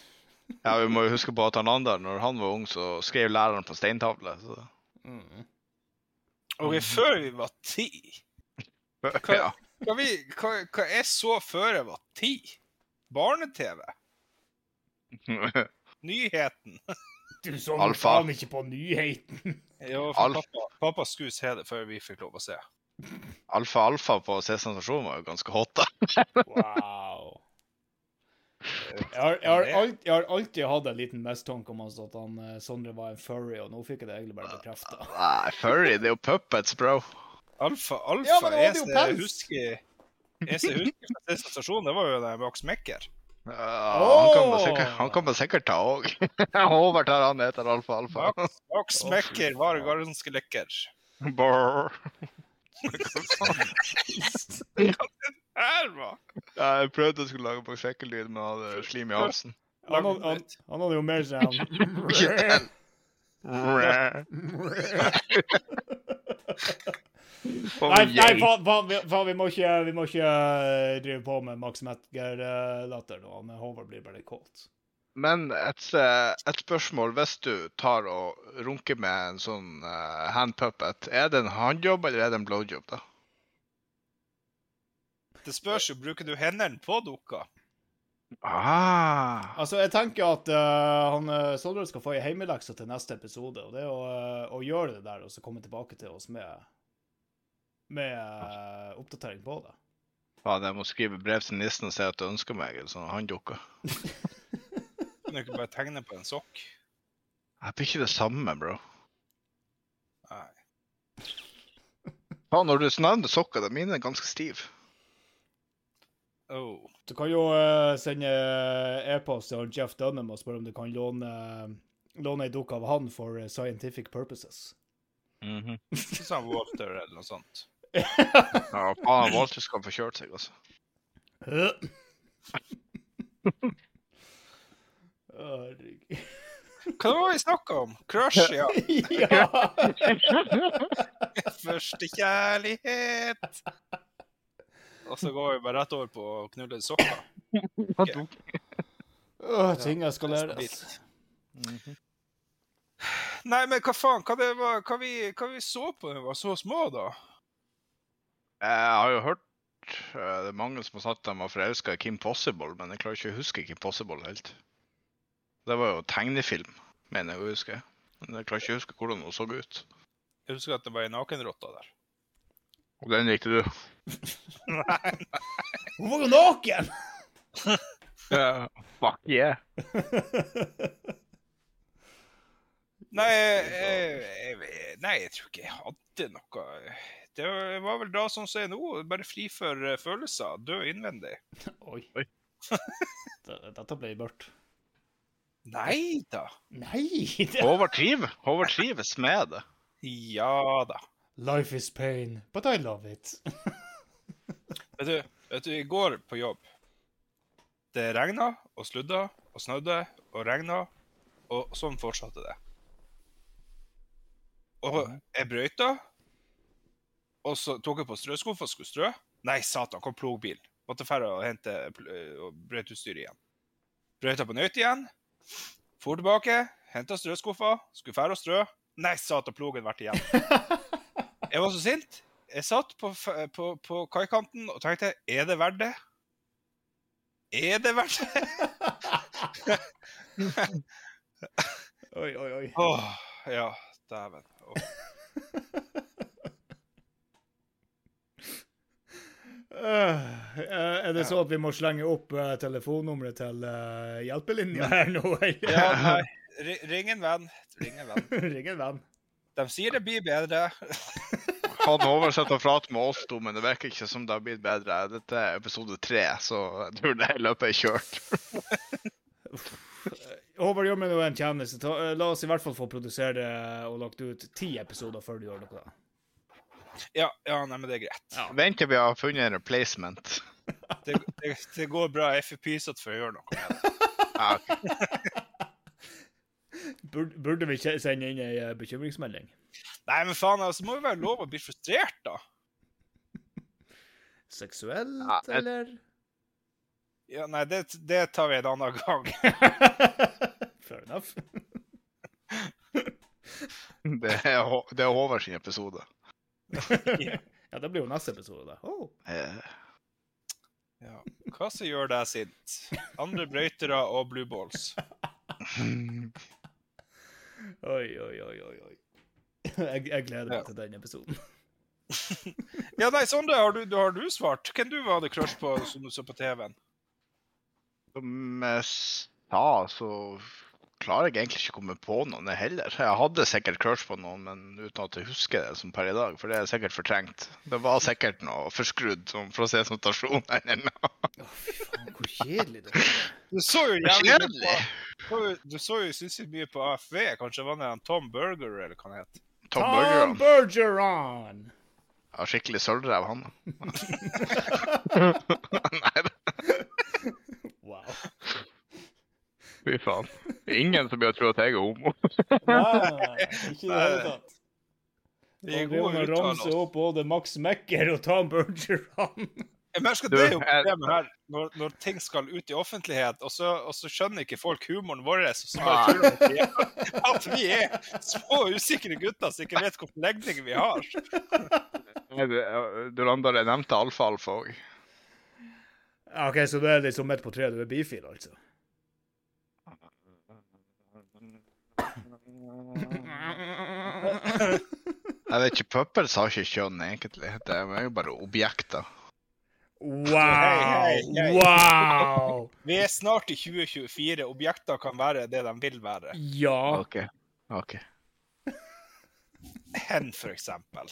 C: Ja, vi må jo huske på at han Ander, når han var ung, så skrev læreren på steintavle. Så.
A: Mm.
B: Ok,
A: Mhm.
B: før vi var ti
C: (laughs) Ja.
B: Hva, vi, hva, hva jeg så før jeg var ti? Barne-TV? Nyheten?
A: Du så jo
C: Alfa.
A: faen ikke på nyheten.
B: Jo, for
C: Alf.
B: pappa, pappa skulle se det før vi fikk lov å se.
C: (laughs) Alfa Alfa på Sesam stasjon var jo ganske hot. da.
A: Wow. Jeg har, jeg, har alt, jeg har alltid hatt en liten mistanke om altså at han, eh, Sondre var en furry, og nå fikk jeg det egentlig bare bekrefta.
C: Nei, furry, det er jo puppets, bro.
B: Alfa, alfa,
A: Ja, men det
B: jeg
A: hadde jo
B: ser- jeg
A: pels.
B: husker jeg ser- husker fra siste stasjon, det var jo det Max Mekker.
C: Ja, han, kan man
A: Åh!
C: sikkert, han kan man sikkert ta òg. (laughs) Håvard her, han heter Alfa Alfa.
B: Max, Max
A: Å, fy
B: Mekker var
A: faen.
B: ganske lekker.
C: (laughs) Brr.
B: Her var
C: Ja, Jeg prøvde å skulle lage baksekkelyd, men hadde slim i halsen.
A: Han, hadde- han, han hadde jo mer sånn
C: Nei,
A: Nei, nei faen, faen, vi- faen, vi må ikke, vi må ikke eh, drive på med Max Metger-latter nå. Han Håvard blir bare kåt.
C: Men et, eh, et spørsmål. Hvis du tar og runker med en sånn eh, hand puppet, er det en handjobb eller er det en blowjob? da?
B: Det spørs jo, bruker du hendene på dukka?
C: Ah.
A: Altså, jeg tenker at eh, han eh, Sondre skal få ei heimelekse til neste episode, og det er å, eh, å gjøre det der og så komme tilbake til oss med, med eh, oppdatering på det.
C: Faen, jeg må skrive brev til nissen og si at du ønsker meg en sånn handdukke.
B: Kan du ikke bare tegne på en sokk?
C: Jeg blir ikke det samme, bro.
B: Nei.
C: Faen, når du nevner sokker, de mine er ganske stive.
B: Oh.
A: Du kan jo eh, sende eh, e-post til han Jeff Dunham og spørre om du kan låne, låne ei dukke av han for eh, scientific purposes.
B: Ikke sånn Walter eller noe sånt.
C: Ja, faen, Walter skal få kjørt seg, altså.
A: Herregud.
B: Hva var det vi snakka om? Crush, ja.
A: (laughs) ja.
B: Førstekjærlighet. Og så går vi bare rett over på å knulle sokker.
A: Åh, ting eskaleres.
B: Mhm. Nei, men hva faen? Hva, det var, hva, vi, hva vi så på da vi var så små, da?
C: Jeg har jo hørt eh, det er mange som har sagt de var forelska i Kim Possible, men jeg klarer ikke å huske Kim Possible helt. Det var jo tegnefilm, mener jeg å huske. Men jeg klarer ikke å huske hvordan hun så ut.
B: Jeg husker at det var ei nakenrotte der.
C: Og den likte du.
A: Hun var jo naken! (laughs)
C: fuck yeah.
B: Nei, jeg, jeg, nei, jeg tror ikke jeg hadde noe Det var vel da sånn som jeg er nå, bare fri for eh, følelser. Død innvendig.
A: Oi.
C: Oi.
A: D- Dette ble mørkt.
B: Nei da.
A: Nei! det-
C: Håvard trives. Håvard trives med det.
B: Ja da.
A: Life is pain, but I love it.
B: Vet du, vet du, i går på jobb Det regna og sludda og snødde og regna, og sånn fortsatte det. Og jeg brøyta, og så tok jeg på strøskuffa og skulle strø. Nei, satan, kom plogbilen. Måtte dra og hente pl- og brøyteutstyr igjen. Brøyta på nytt igjen. For tilbake, henta strøskuffa, skulle dra og strø. Nei, satan, plogen ble igjen. Jeg var så sint. Jeg satt på, f- på, på kaikanten og tenkte Er det verdt det? Er det verdt (laughs) det?
A: Oi, oi, oi.
B: Åh, ja, dæven. Åh,
A: Øh, er det så at vi må slenge opp eh, telefonnummeret til uh, hjelpelinja her nå? eller? (laughs)
B: Ja, nei. ri- Ring en venn. Ring en venn.
A: Ring en venn.
B: De sier det blir bedre.
C: Ta den over, sett og prat med oss to, men det virker ikke som det har blitt bedre. Dette er episode tre, så jeg tror det løpet er kjørt.
A: Håvard gjør meg nå en tjeneste. Ta, eh, la oss i hvert fall få produsere det eh, og lagt ut ti episoder før du gjør noe.
B: (laughs) Ja, ja nei, men det er greit.
C: Vent til vi har funnet en replacement.
B: Det, det, det går bra. Jeg er for pysete for å gjøre noe.
C: Ja, ok.
A: Burde, burde vi ikke sende inn ei eh, bekymringsmelding?
B: Nei, men faen, altså, må jo være lov å bli frustrert, da.
A: Seksuelt,
C: Ja, jeg-
A: eller? (laughs)
B: Ja, nei, det, det tar vi en annen gang.
A: Fair enough.
C: det, er, Hå- det er Håvard sin episode.
A: (laughs) ja, det blir jo neste episode, da. Oh.
C: Eh,
B: Ja. Hva som gjør deg sint? Andre brøytere og blue balls.
C: hmm.
A: Oi, oi, oi, oi. oi. Jeg, jeg gleder meg
B: Ja.
A: til den episoden.
B: Ja, nei, Sondre, har du, har du svart? Hvem du hadde crush på som du så på TV-en?
C: Som jeg sa, så klarer jeg egentlig ikke å komme på noen jeg heller. Jeg hadde sikkert crush på noen, men uten at jeg husker det som per i dag, for det er sikkert fortrengt. Det var sikkert noe forskrudd, som for å se som stasjon eller noe.
A: Å, fy faen, hvor kjedelig det er.
B: Du så jo jævlig mye
C: Kjedelig!
B: på, så- du så jo sinnssykt mye på AFV. Kanskje var det han Tom Burger, eller hva han het.
C: Tom
A: Tom
C: Bergeron
A: Bergeron!
C: har skikkelig sølvrev, han. (laughs) Nei,
A: Wow.
C: fy faen. Ingen som blir å tro at jeg er homo.
A: Nei, nei, ikke i det hele tatt.
B: Vi er
A: Og driver
B: gode
A: med å ramse
B: uttaler.
A: opp både Max Mekker og Tom Bergeron.
B: Jeg merker
C: Du,
B: det er jo
C: jeg-
B: problemet her, når, når ting skal ut i offentlighet, og så, og så skjønner ikke folk humoren vår, og så bare tror de at vi- at vi er små, usikre gutter som ikke vet hvilken legning vi har.
C: Du, du lander det nevnte alfa-alfa òg.
A: Ja, OK, så du er liksom midt på treet, du er bifil, altså?
C: Jeg vet ikke, puppels har ikke kjønn, egentlig. Det er jo bare objekter.
A: Wow!
B: Hei, hei, hei.
A: Wow!
B: Vi er snart i 2024. Objekter kan være det de vil være.
A: Ja.
C: OK. ok.
B: Hen, for eksempel.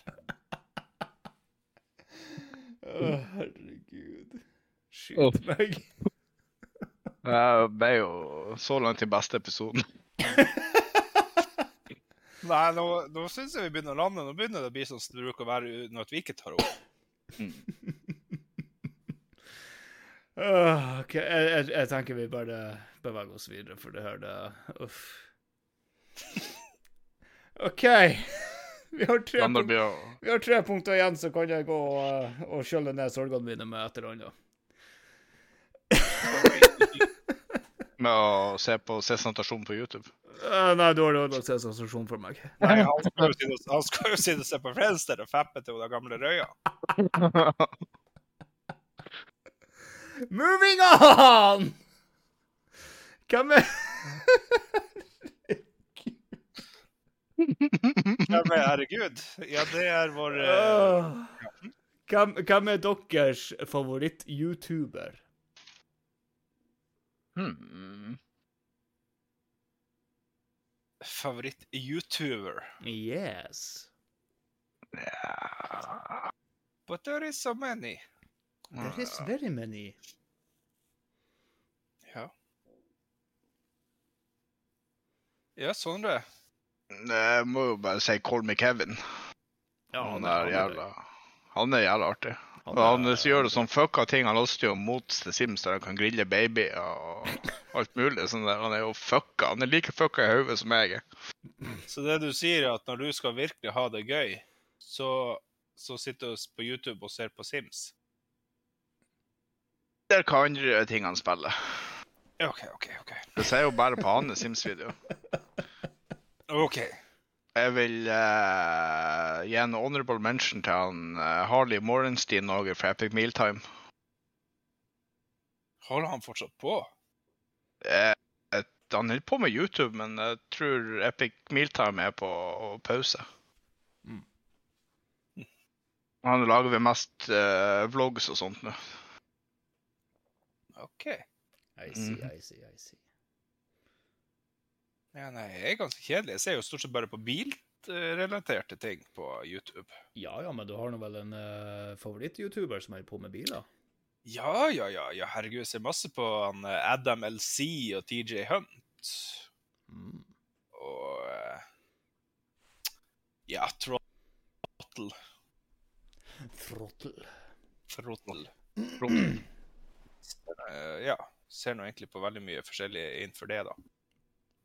A: Å, herregud. Skyt meg.
C: Jeg ble jo så langt i beste (laughs) episoden.
B: Nei, nå, nå syns jeg vi begynner å lande. Nå begynner det å bli sånn som det bruker å være når vi ikke tar opp.
A: Åh, ok, jeg, jeg, jeg tenker vi bare beveger oss videre, for det her, det Uff. OK. Vi har tre,
C: Lander
A: punk
C: blir å
A: vi har tre punkter igjen, så kan jeg gå og, og kjøle ned sorgene mine med et eller annet.
C: med å se på Sesantasjon på YouTube.
A: Eh, nei, da har det ødelagt sensasjonen for meg.
B: Nei, han skal jo sitte- han skal jo sitte og se på Friends der og feppe til hun der gamle røya.
A: Moving on! Hvem er
B: Ja, men herregud. Ja, det er vår
A: (laughs)
B: eh,
A: Åh. hvem, hvem er deres favoritt-YouTuber?
C: Hmm.
B: favoritt-YouTuber.
A: Yes.
C: Ja.
B: But there is so many.
A: There is very many.
B: Ja. Ja, sånn det.
C: Jeg må jo bare si Call me Kevin. han, er jævla Han er jævla artig. Og han eh, gjør det sånn fucka ting. Han laster jo mot The Sims der han kan grille babyer (laughs) og alt mulig. sånn der. Han er jo fucka. Han er like fucka i hodet som jeg er.
B: Så det du sier, er at når du skal virkelig ha det gøy, så, så sitter du på YouTube og ser på Sims.
C: Der hva andre ting han spiller.
B: Ja, OK, OK. OK.
C: Det sier jo bare på hans Sims-video.
B: Ok.
C: Jeg vil eh, gi en honorable mention til han eh, Harley Morenstein Norge fra Epic Mealtime.
B: Holder han fortsatt på?
C: Eh, et, han holder på med YouTube, men jeg tror Epic Mealtime er på pause.
A: Mm.
C: Han lager vel mest eh, vlogs og sånt nå.
B: OK.
A: I see,
C: Mhm.
A: I see, I see.
B: Ja, nei, jeg er ganske kjedelig. Jeg ser jo stort sett bare på bil, bilrelaterte ting på YouTube.
A: Ja ja, men du har nå vel en eh, favoritt-YouTuber som holder på med biler?
B: Ja, ja, ja, ja, herregud, jeg ser masse på han eh, Adam LC og TJ Hunt.
A: Mm.
B: Og eh, Ja, Trottle.
A: Throttle.
B: Trottle. Eh, ja. Ser nå egentlig på veldig mye forskjellig innenfor det, da.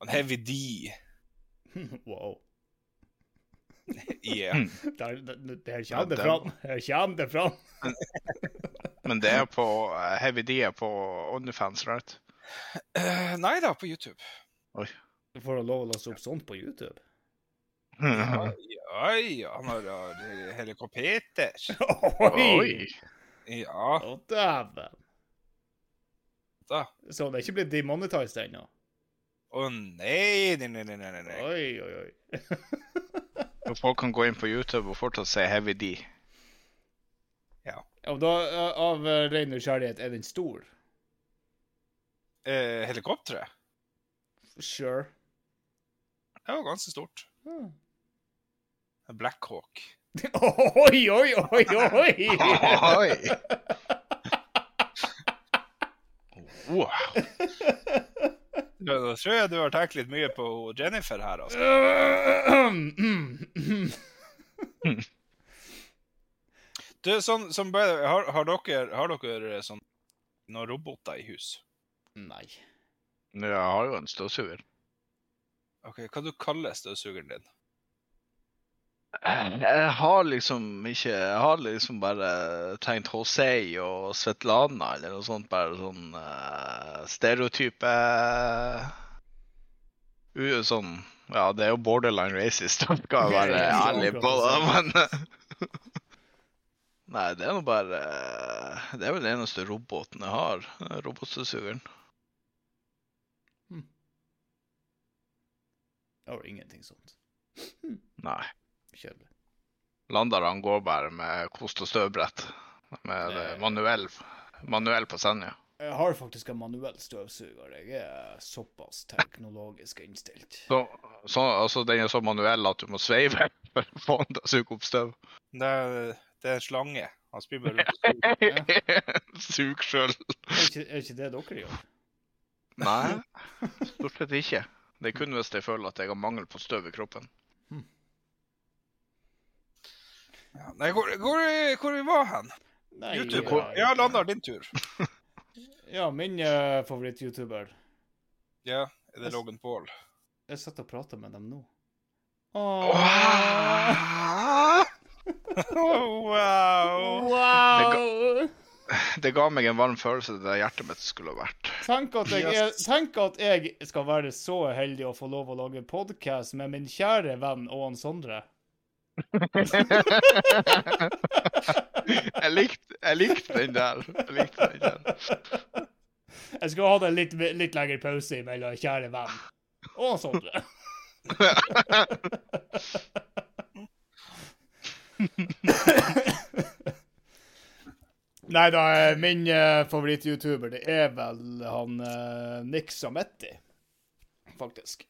B: Han Heavy D.
A: (laughs) Wow.
B: Yeah.
A: Der, der, der
C: Ja,
A: kommer det
C: den-
A: fram! Her kommer det fram!
C: Men det er på eh, Heavy D er på OnlyFans, right?
B: Eh, nei da, på YouTube.
A: Du får lov å laste opp sånt på YouTube.
B: Ja, ja, ja, han har, har helikopter.
C: Oi!
B: Ja
A: Å, dæven.
B: da.
A: Så det er ikke blitt demonetized ennå?
B: Å nei, nei, nei, nei, nei, nei.
A: Oi, oi, oi.
C: Og folk kan gå inn på YouTube og fortsatt se Heavy D.
A: Og da, eh, av eh, ren nysgjerrighet, er den stor?
B: Eh, helikopteret?
A: Sure. (laughs)
B: Det var ganske stort.
A: Hmm.
B: Blackhawk.
A: Oi, oi, (clears throat) oi, oi!
C: Oi!
B: (laughs)
C: Wow.
B: Nå tror jeg du har tenkt litt mye på hun Jennifer her, altså. Du, sånn, sånn bare, har, har dere, har dere sånn, noen roboter i hus?
A: Nei.
C: Nå, Jeg har jo en støvsuger.
B: Ok, Hva du kaller støvsugeren din?
A: Mhm.
C: Jeg har liksom ikke Jeg har liksom bare tenkt José og Svetlana eller noe sånt. Bare sånn eh, stereotype U- Sånn Ja, det er jo borderline racist, da skal jeg være
A: Ja,
C: ærlig på det,
A: akkurat
C: men (laughs) Nei, det er nå bare eh, Det er vel den eneste roboten jeg har. eh, Robotstøvsugeren.
A: Jeg har ingenting sånt. (clears throat)
C: Nei.
A: Kjedelig.
C: Landerne går bare med kost og støvbrett. Med eh, manuell, manuell på Senja.
A: Jeg har faktisk en manuell støvsuger. Jeg er såpass teknologisk innstilt.
C: Så, så, altså, den er så manuell at du må sveive (laughs) for å få den til å suge opp støv. (laughs)
B: Det er, det er en slange. Han spyr bare rundt. og suger.
C: Sug sjøl.
A: Er ikke, er ikke det dere gjør?
C: (laughs) Nei, stort sett ikke. Det er kun hvis jeg føler at jeg har mangel på støv i kroppen.
B: Ja, Nei, hvor, hvor, hvor vi var hen?
A: Nei,
B: YouTube?
A: eh,
B: Ja, Landar, din tur.
A: Ja, min eh, favoritt-YouTuber.
B: Ja, er det Logan
A: (laughs)
B: Paul?
A: Jeg sitter og prater med dem nå.
B: wow!
A: Wow!
C: (laughs) Det ga meg en varm følelse der hjertet mitt skulle ha (laughs) vært.
A: Tenk at, jeg er, tenk at jeg skal være så heldig å få lov å lage podkast med min kjære venn og han Sondre.
C: Jeg likte, jeg likte den der. Jeg likte den der.
A: (laughs) Jeg skulle hatt en litt, litt lengre pause mellom kjære venn og han Sondre. Nei da, min eh, favoritt-YouTuber det er vel han eh, Nick Sametti, faktisk.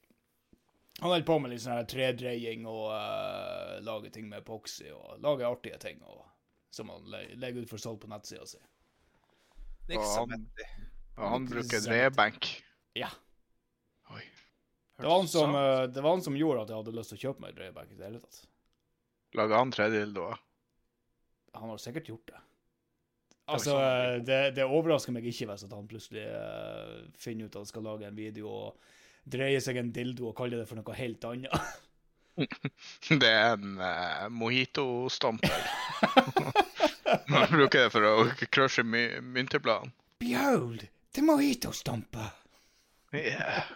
A: Han holder på med litt sånn her tredreying og eh, lager ting med epoxy og lager artige ting og, som han le legger ut for salg på nettsida si.
B: Nick
C: Og han-
B: Sametti.
C: Og han bruker vedbenk.
A: Ja.
C: Oi.
A: Det var, han som,
B: Hørtes
A: eh, det var han som gjorde at jeg hadde lyst til å kjøpe meg en dreiebenk i det hele tatt.
C: Lager han tredjedildoer?
A: Han har sikkert gjort det. Altså,
C: sånn.
A: eh, det, det overrasker meg ikke hvis at han plutselig eh, finner ut at han skal lage en video og dreie seg en dildo og kalle det for noe helt annet. (laughs)
C: Det er en uh, (laughs) mojito-stamper. Man bruker det for å crushe my myntebladene.
A: Bjøl! Det må hit og stampe!
C: Yeah.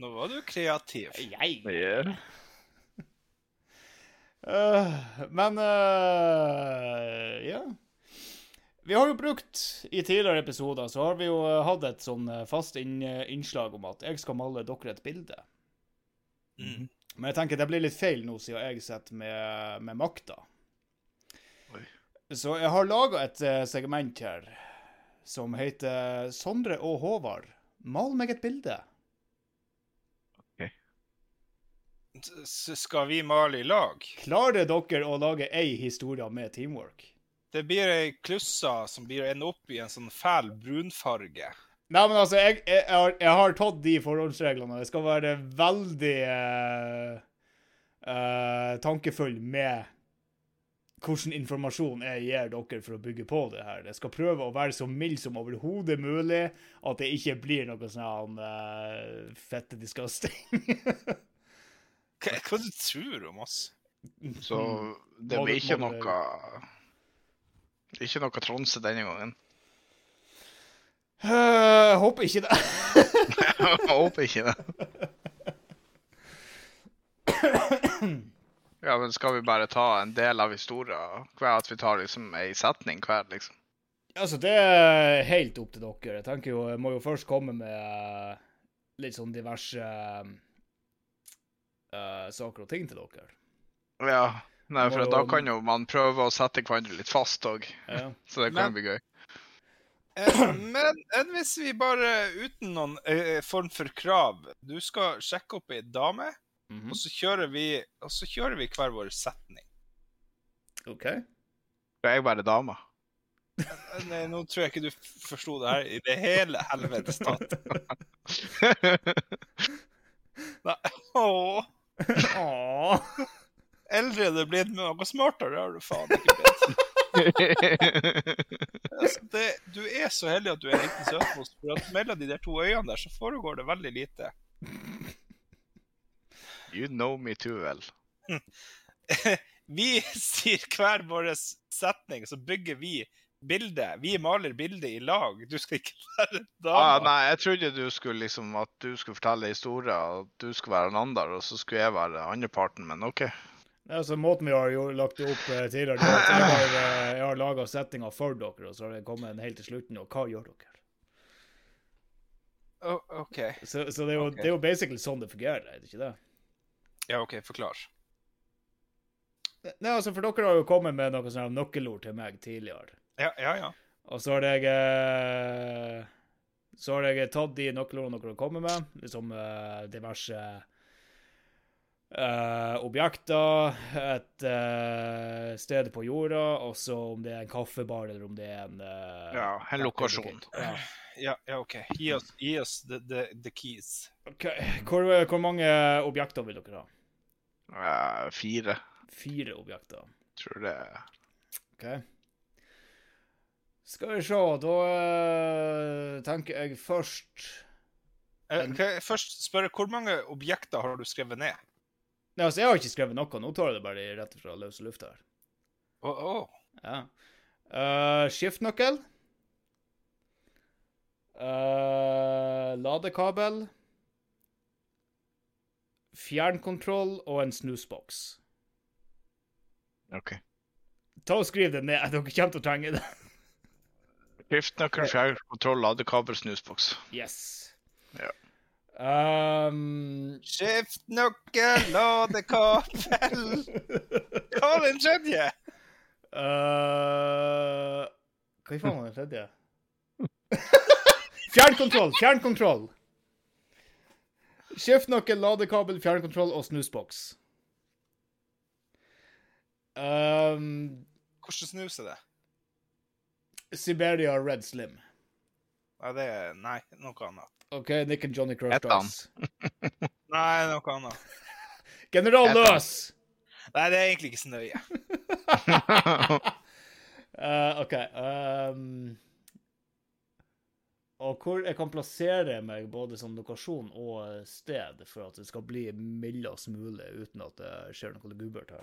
B: Nå var du kreativ.
A: Jeg.
C: Yeah.
A: Eh, men eh, ja. Vi har jo brukt I tidligere episoder så har vi jo eh, hatt et sånn eh, fast inn, innslag om at jeg skal male dere et bilde.
B: Mm.
A: Men jeg tenker det blir litt feil nå, siden jeg sitter med, med makta.
C: Oi.
A: Så jeg har laga et eh, segment her som heter 'Sondre og Håvard, mal meg et bilde'.
B: s- skal vi male i lag.
A: Klarer dere å lage ei historie med teamwork?
B: Det blir ei klussa som blir ender opp i en sånn fæl brunfarge.
A: Nei, men altså, jeg, jeg, jeg, har, jeg har tatt de forholdsreglene. og Jeg skal være veldig eh, eh, tankefull med hvordan informasjon jeg gir dere for å bygge på det her. Jeg skal prøve å være så mild som overhodet mulig, at det ikke blir noe sånn uh, fette disgusting. (laughs)
B: Hva, hva du tror om oss?
C: Så det
A: Mm. Må du-
C: blir ikke
A: må du-
C: noe Ikke noe transe denne gangen. (laughs)
A: Eh, håper ikke det.
C: Jeg håper ikke
A: (coughs)
C: det. Ja, men skal vi bare ta en del av historien? Hver at vi tar liksom ei setning hver, liksom?
A: Altså, det er helt opp til dere. Jeg tenker jo, jeg må jo først komme med eh, litt sånn diverse eh, saker og ting til dere.
C: Ja. Nei, for
A: Må
C: da
A: jo-
C: kan jo man prøve å sette hverandre litt fast òg,
A: Ja.
C: så det kan
B: Men-
C: bli gøy.
B: Eh, Men enn hvis vi bare uten noen eh, form for krav Du skal sjekke opp ei dame,
A: Mhm.
B: og så kjører vi, og så kjører vi hver vår setning.
A: OK.
C: For jeg er bare dama. (laughs)
B: Eh, Nei, nå tror jeg ikke du f- forsto det her i det hele helvetes tatt. (laughs) Åh,
A: (laughs) Åh.
B: Eldre er det blitt, men noe smartere har du faen ikke (laughs) blitt. Altså, det, du er så heldig at du er en liten søtpost, for at mellom de der to øyene der så foregår det veldig lite.
C: you know me too well.
B: Vi (laughs) sier hver vår setning, så bygger vi bildet. Vi maler bildet i lag. Du skal ikke (laughs) være
C: Ah,
B: dama.
C: nei, jeg trodde du skulle liksom at du skulle fortelle historier, og at du skulle være Nandar, og så skulle jeg være andreparten, men OK.
A: Det er altså måten vi har jo lagt det opp eh, tidligere. det er at Jeg har, eh, jeg har laga settinga for dere, og så har det kommet en helt til slutten. Og hva gjør dere?
B: Å, OK.
A: Så, så det, er jo,
B: Ok.
A: det er jo basically sånn det fungerer, er det ikke det?
B: Ja, OK, forklar.
A: Nei, altså, for dere har jo kommet med noen sånne nøkkelord til meg tidligere.
B: Ja, ja. ja.
A: Og så har jeg eh, Så har jeg tatt de nøkkelordene dere kommer med, liksom eh, diverse eh, objekter, et eh, sted på jorda, og så om det er en kaffebar, eller om det er en eh,
C: Ja, en lokasjon.
A: Ja.
B: Ja, ja OK. Gi oss, gi oss the, the, the keys.
A: Ok, Hvor, hvor mange objekter vil dere ha?
C: Eh, fire,
A: Fire objekter.
C: tror det.
A: OK. Skal vi se, da eh, tenker jeg først
B: Eh, kan jeg først spørre, hvor mange objekter har du skrevet ned?
A: Nei, altså, jeg har ikke skrevet noe. Nå tar jeg det bare rett fra løse lufta her.
B: Å, å.
A: Ja. Eh, Skiftnøkkel. Eh, ladekabel. Fjernkontroll og en snusboks.
C: OK.
A: Ta og Skriv det ned. (laughs) Dere kommer til å trenge det.
C: Skiftnøkkel, fjernkontroll, ladekabel, snusboks.
A: Yes.
C: Ja.
A: Ehm,
B: Skiftnøkkel, ladekabel Hva var den tredje?
A: eh, hva i faen var den tredje? fjernkontroll! Fjernkontroll! Skiftnøkkel, ladekabel, fjernkontroll og snusboks. Ehm,
B: Hvordan snus er det?
A: Siberia Red Slim.
B: Nei, det er Nei, noe annet.
A: OK, Nick and Johnny Crush
C: Ett annet.
A: Dice.
B: Nei, noe annet.
A: General
C: Ett annet.
A: Løs!
B: Nei, det er egentlig ikke så nøye.
A: Eh, OK. ehm, og hvor jeg kan plassere meg både som lokasjon og sted, for at det skal bli mildest mulig uten at det skjer noe gubert her.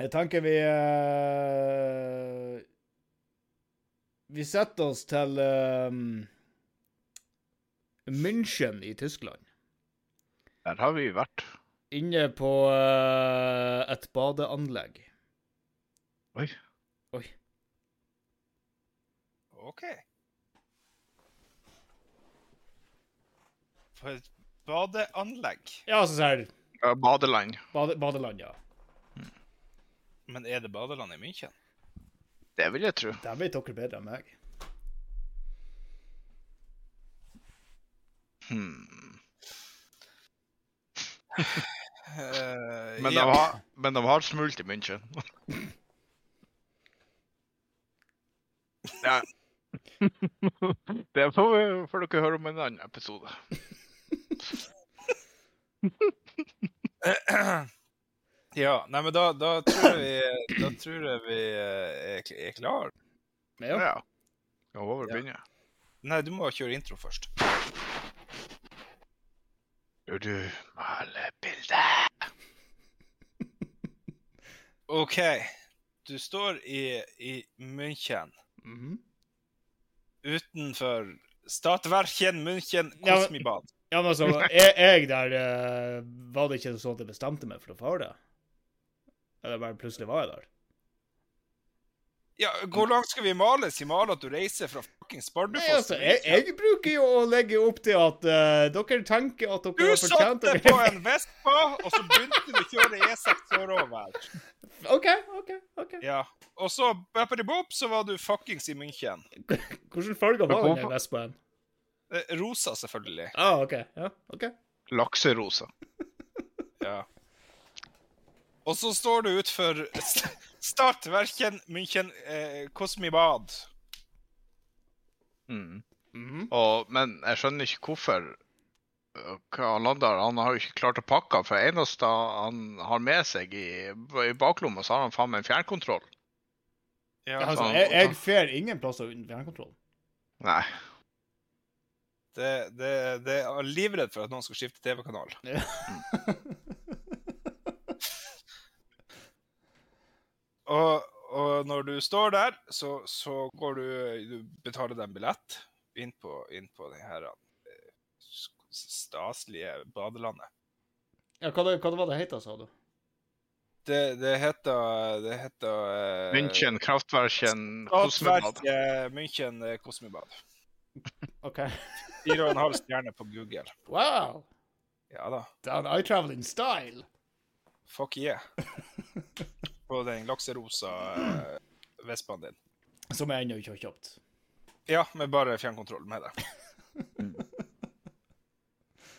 A: Jeg tenker vi eh, Vi setter oss til ehm, München i Tyskland.
C: Der har vi vært.
A: Inne på eh, et badeanlegg.
C: Oi.
A: Oi.
B: OK. På et badeanlegg.
A: Ja, altså sånn her
C: Ja, Badeland.
A: bade, Badeland, ja.
B: Men er det badeland i München?
C: Det vil jeg tro.
A: Der vet dere bedre enn meg.
C: Hmm.
B: Eh,
C: Men,
B: ja.
C: de, har, men de har smult i München. Ja. Det får, vi, får dere høre om i en annen episode.
B: (clears throat) Ja, nei, men da, da tror jeg vi, da tror jeg vi eh, er, kl- er klar.
A: Men ja.
C: Skal Håvard
B: Ja.
C: begynne?
B: Nei, du må kjøre intro først.
C: Vil du male bildet?
B: OK. Du står i, i München.
A: Mhm.
B: Utenfor Stadverken München
A: Ja, men-
B: Kosmibad.
A: ja, men altså, jeg, jeg der eh, Var det ikke sånn at jeg bestemte meg for å fare det? Eller bare plutselig var jeg der?
B: Ja, hvor langt skal vi male? Si male at du reiser fra fucking
A: Nei,
B: Spardufoss
A: altså, jeg, jeg bruker jo å legge opp til at eh, dere tenker at dere
B: Du
A: har fortjent
B: satte på en Vespa, og så begynte du å kjøre E6 sørover.
A: (laughs) OK, OK. ok.
B: Ja. Og så, bepperi-bopp, så var du fuckings i München.
A: Hvilke farger var den der vespaen?
B: Eh, Rosa, selvfølgelig.
A: Ah, OK. Ja, OK.
C: Lakserosa.
B: Ja. Og så står du utfor st- startverken München eh, Kosmibad.
C: Mm.
A: Mhm.
C: Og, men jeg skjønner ikke hvorfor øh, hva han Landar han har jo ikke klart å pakke. For det eneste han har med seg i, i baklomma, så har han faen meg en fjernkontroll.
B: Ja,
A: Altså, jeg, jeg fer ingen plasser uten fjernkontroll.
C: Nei.
B: det, det, det er livredd for at noen skal skifte TV-kanal. Og, og når du står der, så, så går du Du betaler deg en billett inn på, inn på det her eh, s- staselige badelandet.
A: (laughs) Ja, hva, det- hva det var det heter, sa du?
B: Det, det heter Det heter eh,
C: München, kraftverken, Kosmebad.
B: Statsverket München eh, Kosmibad.
A: OK.
B: Fire og en halv stjerne på Google.
A: Wow!
B: Ja da.
A: Down I travel in style.
B: Fuck yeah. På den lakserosa eh, vespaen din.
A: Som jeg ennå ikke har kjøpt.
B: Ja, med bare fjernkontroll med det.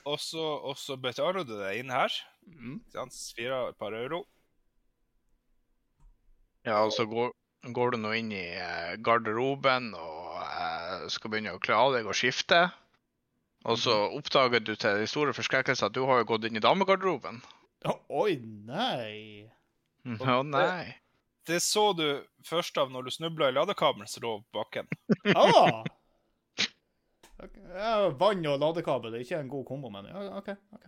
B: Og så, og så betaler du deg inn her.
A: Mhm.
B: ikke sant? Fire et par euro.
C: Ja, og så går, går du nå inn i eh, garderoben og eh, skal begynne å kle av deg og skifte. Og så oppdager du til din store forskrekkelse at du har jo gått inn i damegarderoben.
A: Å, Oi, nei.
C: Å
B: Og
C: Mhm. nei.
B: Det så du først av når du snubla i ladekabelen som lå på bakken.
A: Ah! Ok, Ja, vann og ladekabel det er ikke en god kombo, men ja, OK. ok.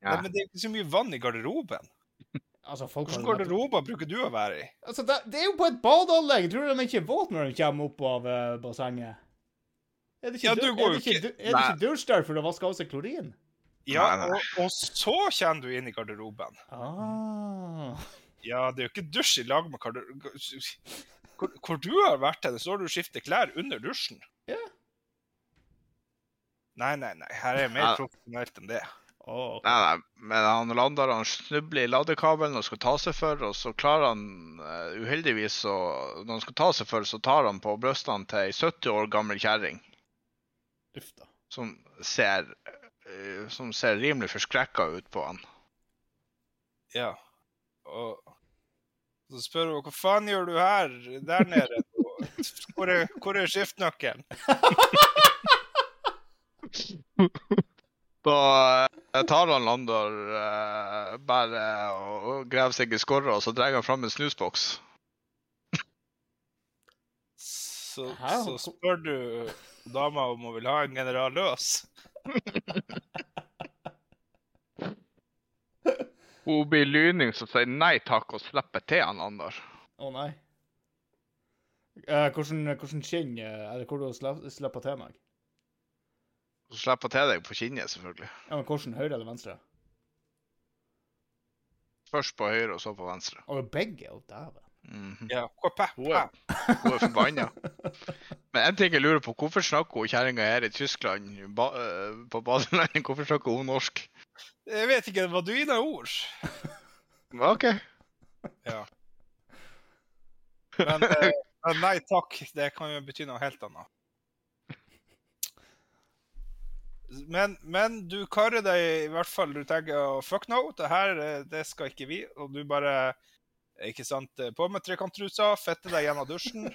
C: Ja.
B: Nei, men det er ikke så mye vann i garderoben.
A: Altså, folk har
B: Hvilken
A: jo nettopp-
B: garderober bruker du å være i?
A: Altså, det, det er jo på et badeanlegg! Tror du de ikke er våte når de kommer opp av eh, bassenget? Er det ikke,
B: Ja,
A: du
B: du går
A: er
B: jo
A: det ikke,
B: ikke-
A: du- er det ikke dusj der for å vaske av seg klorin?
B: Ja,
C: Nei, nei.
B: og, og så kommer du inn i garderoben.
A: Ah.
B: Ja, det er jo ikke dusj i lag med garder... Hvor, hvor du har vært hen, så har du skiftet klær under dusjen.
A: Ja.
B: Nei, nei, nei. Her er mer
C: Nei.
B: profesjonelt enn det.
A: Å, ok.
C: Nei, nei, men han lander, han snubler i ladekabelen og skal ta seg for, og så klarer han eh, uheldigvis å Når han skal ta seg for, så tar han på brystene til ei 70 år gammel kjerring
A: Uff da.
C: som ser eh, som ser rimelig forskrekka ut på han.
B: Ja. Og så spør hun hva faen gjør du her der nede? Hvor er, hvor er skiftenøkkelen?
C: Da eh, tar han Landor eh, bare og, og graver seg i skorra, og så drar han fram en snusboks.
B: Så,
A: Hæ?
B: så spør du dama om hun vil ha en general løs.
C: Hun blir lyning som sier nei takk, og slipper til han Landor.
A: Å nei. Eh, hvordan, hvordan skinn eh, Er det hvor du slapp- slipper til meg?
C: Så slipper til deg på kinnet, selvfølgelig.
A: Ja, men Hvordan? Høyre eller venstre?
C: Først på høyre, og så på venstre.
A: Å, begge? Å, dæven.
C: Mhm.
B: Ja, hva pæ,
C: Hun er, hun er forbanna. Men en ting jeg lurer på, hvorfor snakker hun kjerringa her i Tyskland ba, øh, på badelandet? (laughs) Hvorfor snakker hun norsk?
B: Jeg vet ikke, det var dine ord.
C: OK.
B: Men, eh, men nei takk, det kan jo bety noe helt annet. Men, men du karer deg i hvert fall. Du tenker «Å, fuck no, det her eh, det skal ikke vi. Og du bare ikke sant, eh, på med trekantrusa, fette deg gjennom dusjen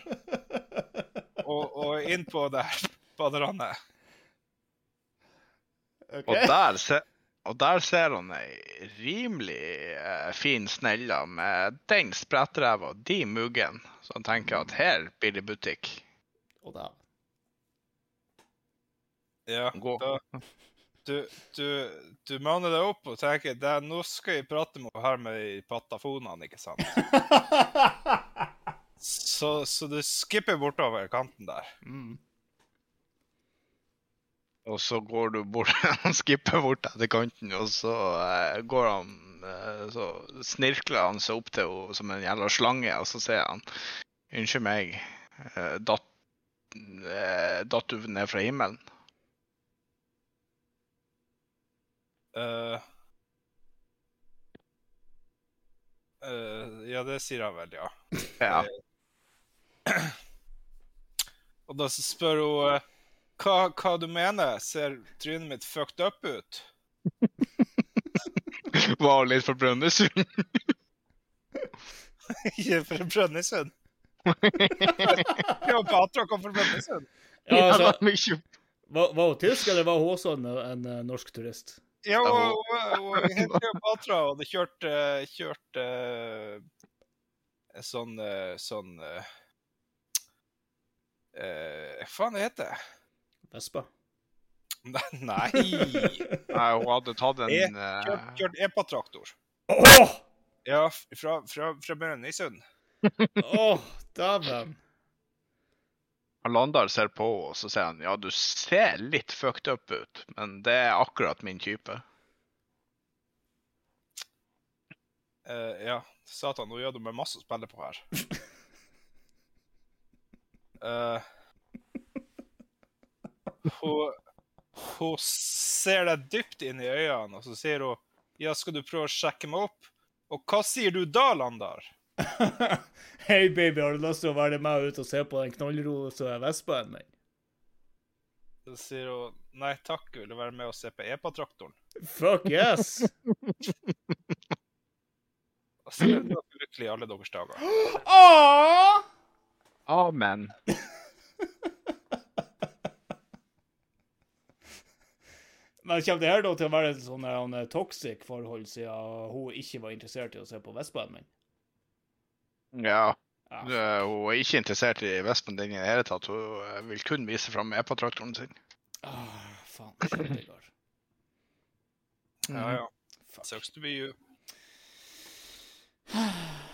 B: og, og inn på det her baderandet.
A: (laughs) OK.
C: Og der, se, og der ser hun ei rimelig eh, fin snella med den sprettreva og de muggen. Så han tenker at her blir det butikk.
A: Og der.
B: Ja,
C: Gå.
B: da, du, du, du manner deg opp og tenker «Det- nå skal jeg prate med henne her med patafonene, ikke sant? Så, så du skipper bortover kanten der.
A: (laughs) Mm.
C: Og så går du bort (laughs) Han skipper bort etter kanten, og så eh, går han eh, Så snirkler han seg opp til henne som en jævla slange, og så sier han Unnskyld meg, eh, datt, eh, datt du ned fra himmelen?
B: Eh, eh, ja, det sier han vel, ja.
C: Ja. (laughs)
B: Og da så spør hun eh, hva, hva du mener. Ser trynet mitt fucked up ut? (laughs)
C: Var (laughs) hun litt for Brønnøysund?
B: Ikke fra Brønnøysund. Ja, Patra kom fra Brønnøysund.
A: Ja, altså,
C: det var mye-
A: var, var hun tysk, eller var hun også en, en eh, norsk turist?
B: Ja,
C: Ja,
B: og,
C: hun-
B: og, og helt Patra hadde kjørt, eh, kjørt eh, sånn eh, sånn eh, eh, Hva faen det heter (laughs)
A: Vespa?
B: det? Nei!
C: Nei, hun hadde tatt
B: Jeg
C: en eh,
B: Kjørt, kjørt EPA-traktor.
A: Åh!
B: Ja, f- fra, fra, fra Brønnøysund.
A: Åh, (laughs) dæven.
C: Han Landar ser på henne og så sier han, ja, du ser litt fucked up ut, men det er akkurat min type.
B: Eh, ja, satan, nå gjør du meg masse å spille på her. Eh, hun, hun ser deg dypt inn i øynene, og så sier hun Ja, skal du prøve å sjekke meg opp? Og hva sier du da, Landar?
A: Hei, baby, har du lyst til å være med ut og se på den knollrosa vespaen min?
B: Så sier hun Nei takk, vil du være med og se på E EPA-traktoren?
A: Fuck (laughs) yes!
B: Og så er dere lykkelige i alle deres dager.
A: (gasps) Åh!
C: Amen.
A: Men kommer det her da til å være et sånn her, han, toxic forhold, siden hun ikke var interessert i å se på vespaen min?
C: Ja,
A: Ja.
C: det- hun er ikke interessert i vespen din i det hele tatt. Hun eh, vil kun vise fram EPA-traktoren sin.
A: Åh, Ah, faen, kjempegard.
B: Ja, ja.
A: Fuck.
B: Sucks to be you.
A: (sighs)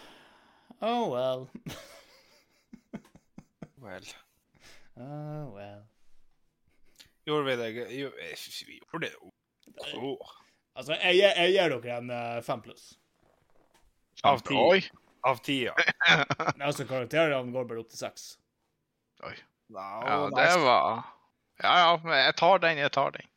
A: Oh well.
B: Well.
A: Oh well.
B: Gjorde vi det? Jo, eh, Vi gjorde det OK.
A: Altså, jeg, gir- jeg gir dere en eh, fem pluss.
B: (laughs) Av ti.
C: Oi,
B: Av ti, ja.
A: Altså, karakterene går bare opp til seks.
C: oi.
B: No,
C: Ja, det var... Ja, ja, men jeg tar den, jeg tar den.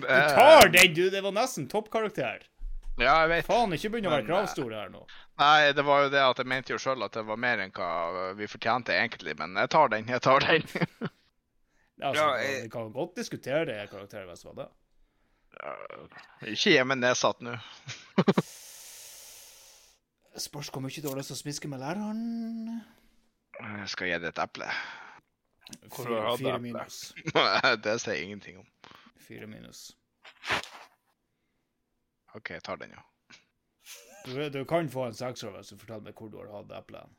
A: (laughs) Du tar den, du! Det var nesten toppkarakter.
C: Eh, Ja, jeg vet.
A: Faen, ikke begynn å være
C: Men, eh,
A: kravstor her nå.
C: Nei, det var jo det at jeg mente jo selv at det var mer enn hva vi fortjente egentlig, men jeg tar den, jeg tar den. (laughs)
A: Altså,
B: ja, jeg-
A: Vi kan godt diskutere det karakteret, hvis det var det.
C: Ikke gi meg nedsatt nå.
A: Spørs hvor mye du har lyst til å smiske med læreren.
C: Jeg skal gi det et eple. (laughs)
B: Hvor
A: Fire,
B: har du
A: fire
B: det?
A: minus.
C: Det sier jeg ingenting om.
A: Fire minus.
C: OK, jeg tar den, ja.
A: Du, du kan få en sekser hvis du forteller meg hvor du har hatt eplet.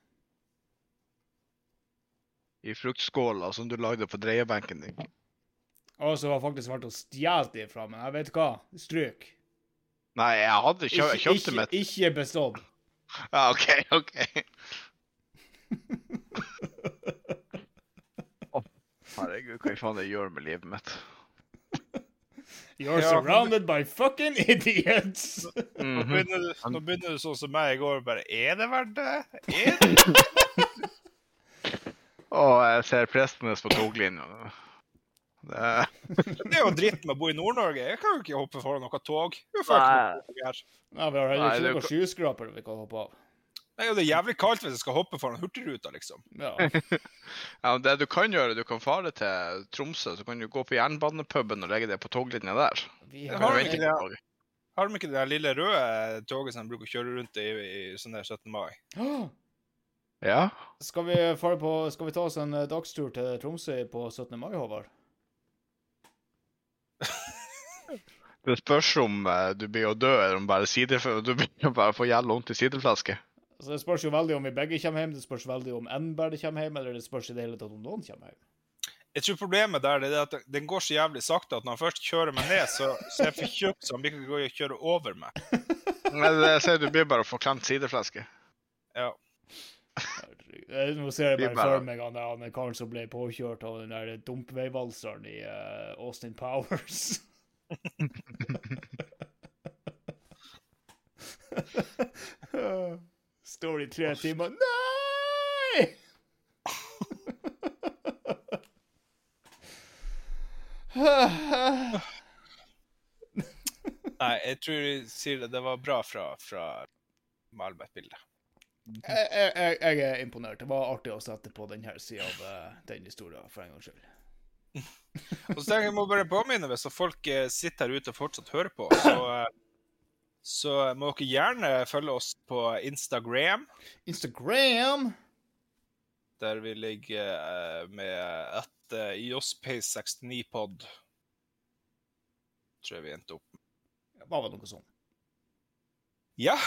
C: I fruktskåla som du lagde på dreiebenken din.
A: Og så har jeg faktisk vært og stjålet det fra meg. Jeg vet hva. Stryk.
C: Nei, jeg hadde kjø
A: Ikke,
C: kjøpte
A: ikke,
C: mitt.
A: ikke bestått.
C: Ja, Ah, OK, (laughs) OK. Å, Herregud, hva i faen jeg gjør med livet mitt?
A: You're
B: Ja, men-
A: surrounded by fucking (laughs) idiots.
B: Nå
C: Mhm.
B: begynner, du, nå begynner du sånn som meg i går. bare, Er det verdt det? Er det?
C: Og jeg ser presten hennes på toglinja. nå. Det
B: det er jo dritt med å bo i Nord-Norge. Jeg kan jo ikke hoppe foran noe tog. Jo, fuck, noe tog her.
A: Nei, vi har heller
C: Nei,
A: ikke
C: det er
A: noen skyskraper vi kan hoppe av.
B: Nei, og Det er jævlig kaldt hvis jeg skal hoppe foran Hurtigruta, liksom.
A: Ja.
C: Ja, men det du kan gjøre, du kan fare til Tromsø, så kan du gå på jernbanepuben og legge deg på toglinja der.
A: Vi
C: Det
B: har
C: er
B: du
C: jo
B: ikke
C: enkelt
B: det?
C: valg.
B: Har de ikke det der lille røde toget som de bruker å kjøre rundt i, i sånn der 17. mai?
A: Åh!
C: Ja.
A: Skal vi, fare på, skal vi ta oss en eh, dagstur til Tromsø på 17. mai, Håvard?
C: Det spørs om eh, du blir å dø, eller om bare sider, (laughs) du blir å bare få jævla vondt i siderflaske.
A: Altså, det spørs jo veldig om vi begge kommer hjem, det spørs veldig om en bare kommer hjem, eller det spørs i det hele tatt om noen kommer hjem.
B: Jeg tror problemet der det er at den går så jævlig sakte at når han først kjører meg ned, så, så er jeg for tjukk, så han blir ikke gå og kjøre over meg.
C: Nei, det jeg sier, eh, du blir bare å få klemt siderflaske.
A: Herregud. Eh, Nå ser jeg
C: Vi
A: bare
C: bare-
A: for meg han, han karen som ble påkjørt av den der dumpveivalseren i eh, Austin Powers. (laughs) Står i tre timer Nei! (laughs)
B: Nei, jeg tror jeg sier det. Det var bra fra, fra Malbeth-bildet.
A: Jeg, jeg, jeg- jeg er imponert. Det var artig å sette på denne sida av eh, den historien for en gangs skyld.
B: Og så tenker jeg jeg må bare påminne hvis folk eh, sitter her ute og fortsatt hører på, så, eh, så må dere gjerne følge oss på Instagram,
A: Instagram!
B: der vi ligger eh, med et eh, IOSPace69-pod. Tror jeg vi endte opp
A: Hva var det noe sånt?
B: Ja,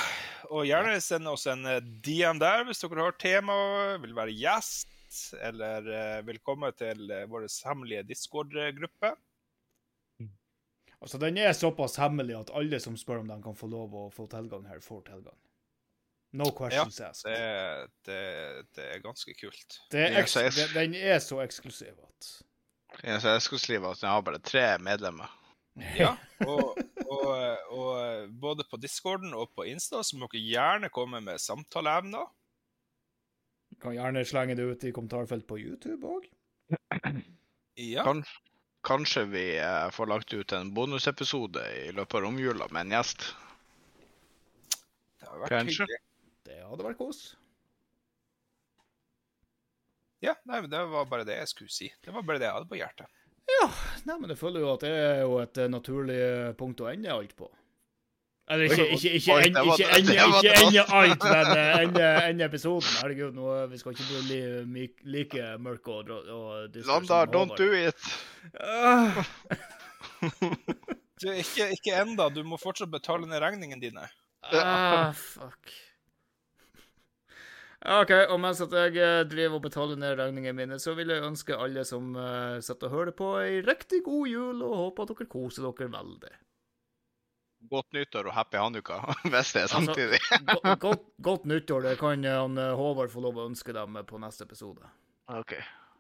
B: og gjerne send oss en eh, DM der hvis dere har tema, vil være gjest, eller eh, vil komme til eh, vår hemmelige Discord-gruppe.
A: Altså, Den er såpass hemmelig at alle som spør om de kan få lov å få tilgang her, får tilgang. No questions asked.
B: Det,
A: Det,
B: det, det er ganske kult.
A: er eks
C: Ja, så jeg-
A: det, den er så eksklusiv at
C: (laughs) Jeg, så jeg skulle skrive at jeg har bare tre medlemmer.
B: Ja, og, og, eh, og eh, både på Discorden og på Insta så må dere gjerne komme med samtaleemner.
A: (laughs) Kan gjerne slenge det ut i kommentarfelt på YouTube òg.
B: Ja,
C: Kan, kanskje vi eh, får lagt ut en bonusepisode i løpet av romjula med en gjest.
B: det har vært
C: kanskje.
B: hyggelig.
A: Det hadde vært kos.
B: Ja, nei, men det var bare det jeg skulle si. Det var bare det jeg hadde på hjertet.
A: Nei, men jeg føler jo at det er jo et eh, naturlig eh, punkt å ende alt på. Eller ikke,
C: Oi,
A: ikke, ikke,
C: oi, det
A: ende-
C: var-
A: ikke,
C: det
A: ende-
C: var
A: ikke
C: dratt.
A: ende alt, men eh, ende, ende episoden. Herregud, nå, eh, vi skal ikke bli li- myk- like mørke og, dra- og dystre som
C: Landar, don't
A: Håvard.
C: do it!
A: Ah.
B: Du, ikke, ikke enda, du må fortsatt betale ned regningene dine.
A: Ah, fuck. Ja, OK, og mens at jeg eh, driver og betaler ned regningene mine, så vil jeg ønske alle som uh, sitter og hører på, ei riktig god jul, og håper at dere koser dere veldig.
C: Godt nyttår og happy hanukka, (laughs) hvis det er
A: Altså-
C: samtidig.
A: Go- godt, godt nyttår. Det kan eh, han eh, Håvard få lov å ønske dem eh, på neste episode.
C: Ok.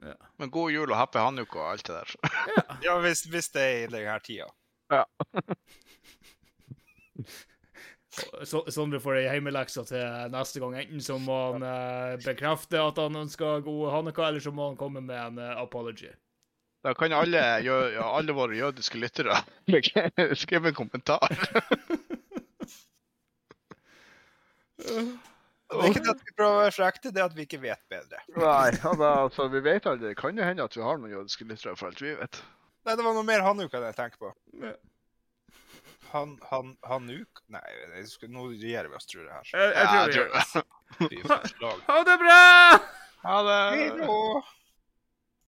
A: Ja.
C: Men god jul og happy hanukka og alt det der. (laughs)
B: Ja, hvis, hvis det er i denne tida.
A: Så, sånn du får ei hjemmelekse til neste gang. Enten så må han eh, bekrefte at han ønsker god hanukka, eller så må han komme med en eh, apology.
C: Da kan alle, jø- ja, alle våre jødiske lyttere (laughs) skrive en kommentar.
B: Det er ikke det at vi prøver å være frekte, det er at vi ikke vet bedre.
C: Nei, altså, vi vet aldri. Kan jo hende at vi har noen jødiske lyttere, for alt vi vet.
B: Nei, det var noe mer Hanuka jeg tenkte på.
A: Ja.
B: Han, han, Hanuk Nei, jeg skulle, nå gir vi oss, tror jeg. her. (laughs)
A: Jeg, jeg tror vi gjør det.
B: Fy forslag.
A: Ha det bra!
C: Ha det!
B: Hei nå!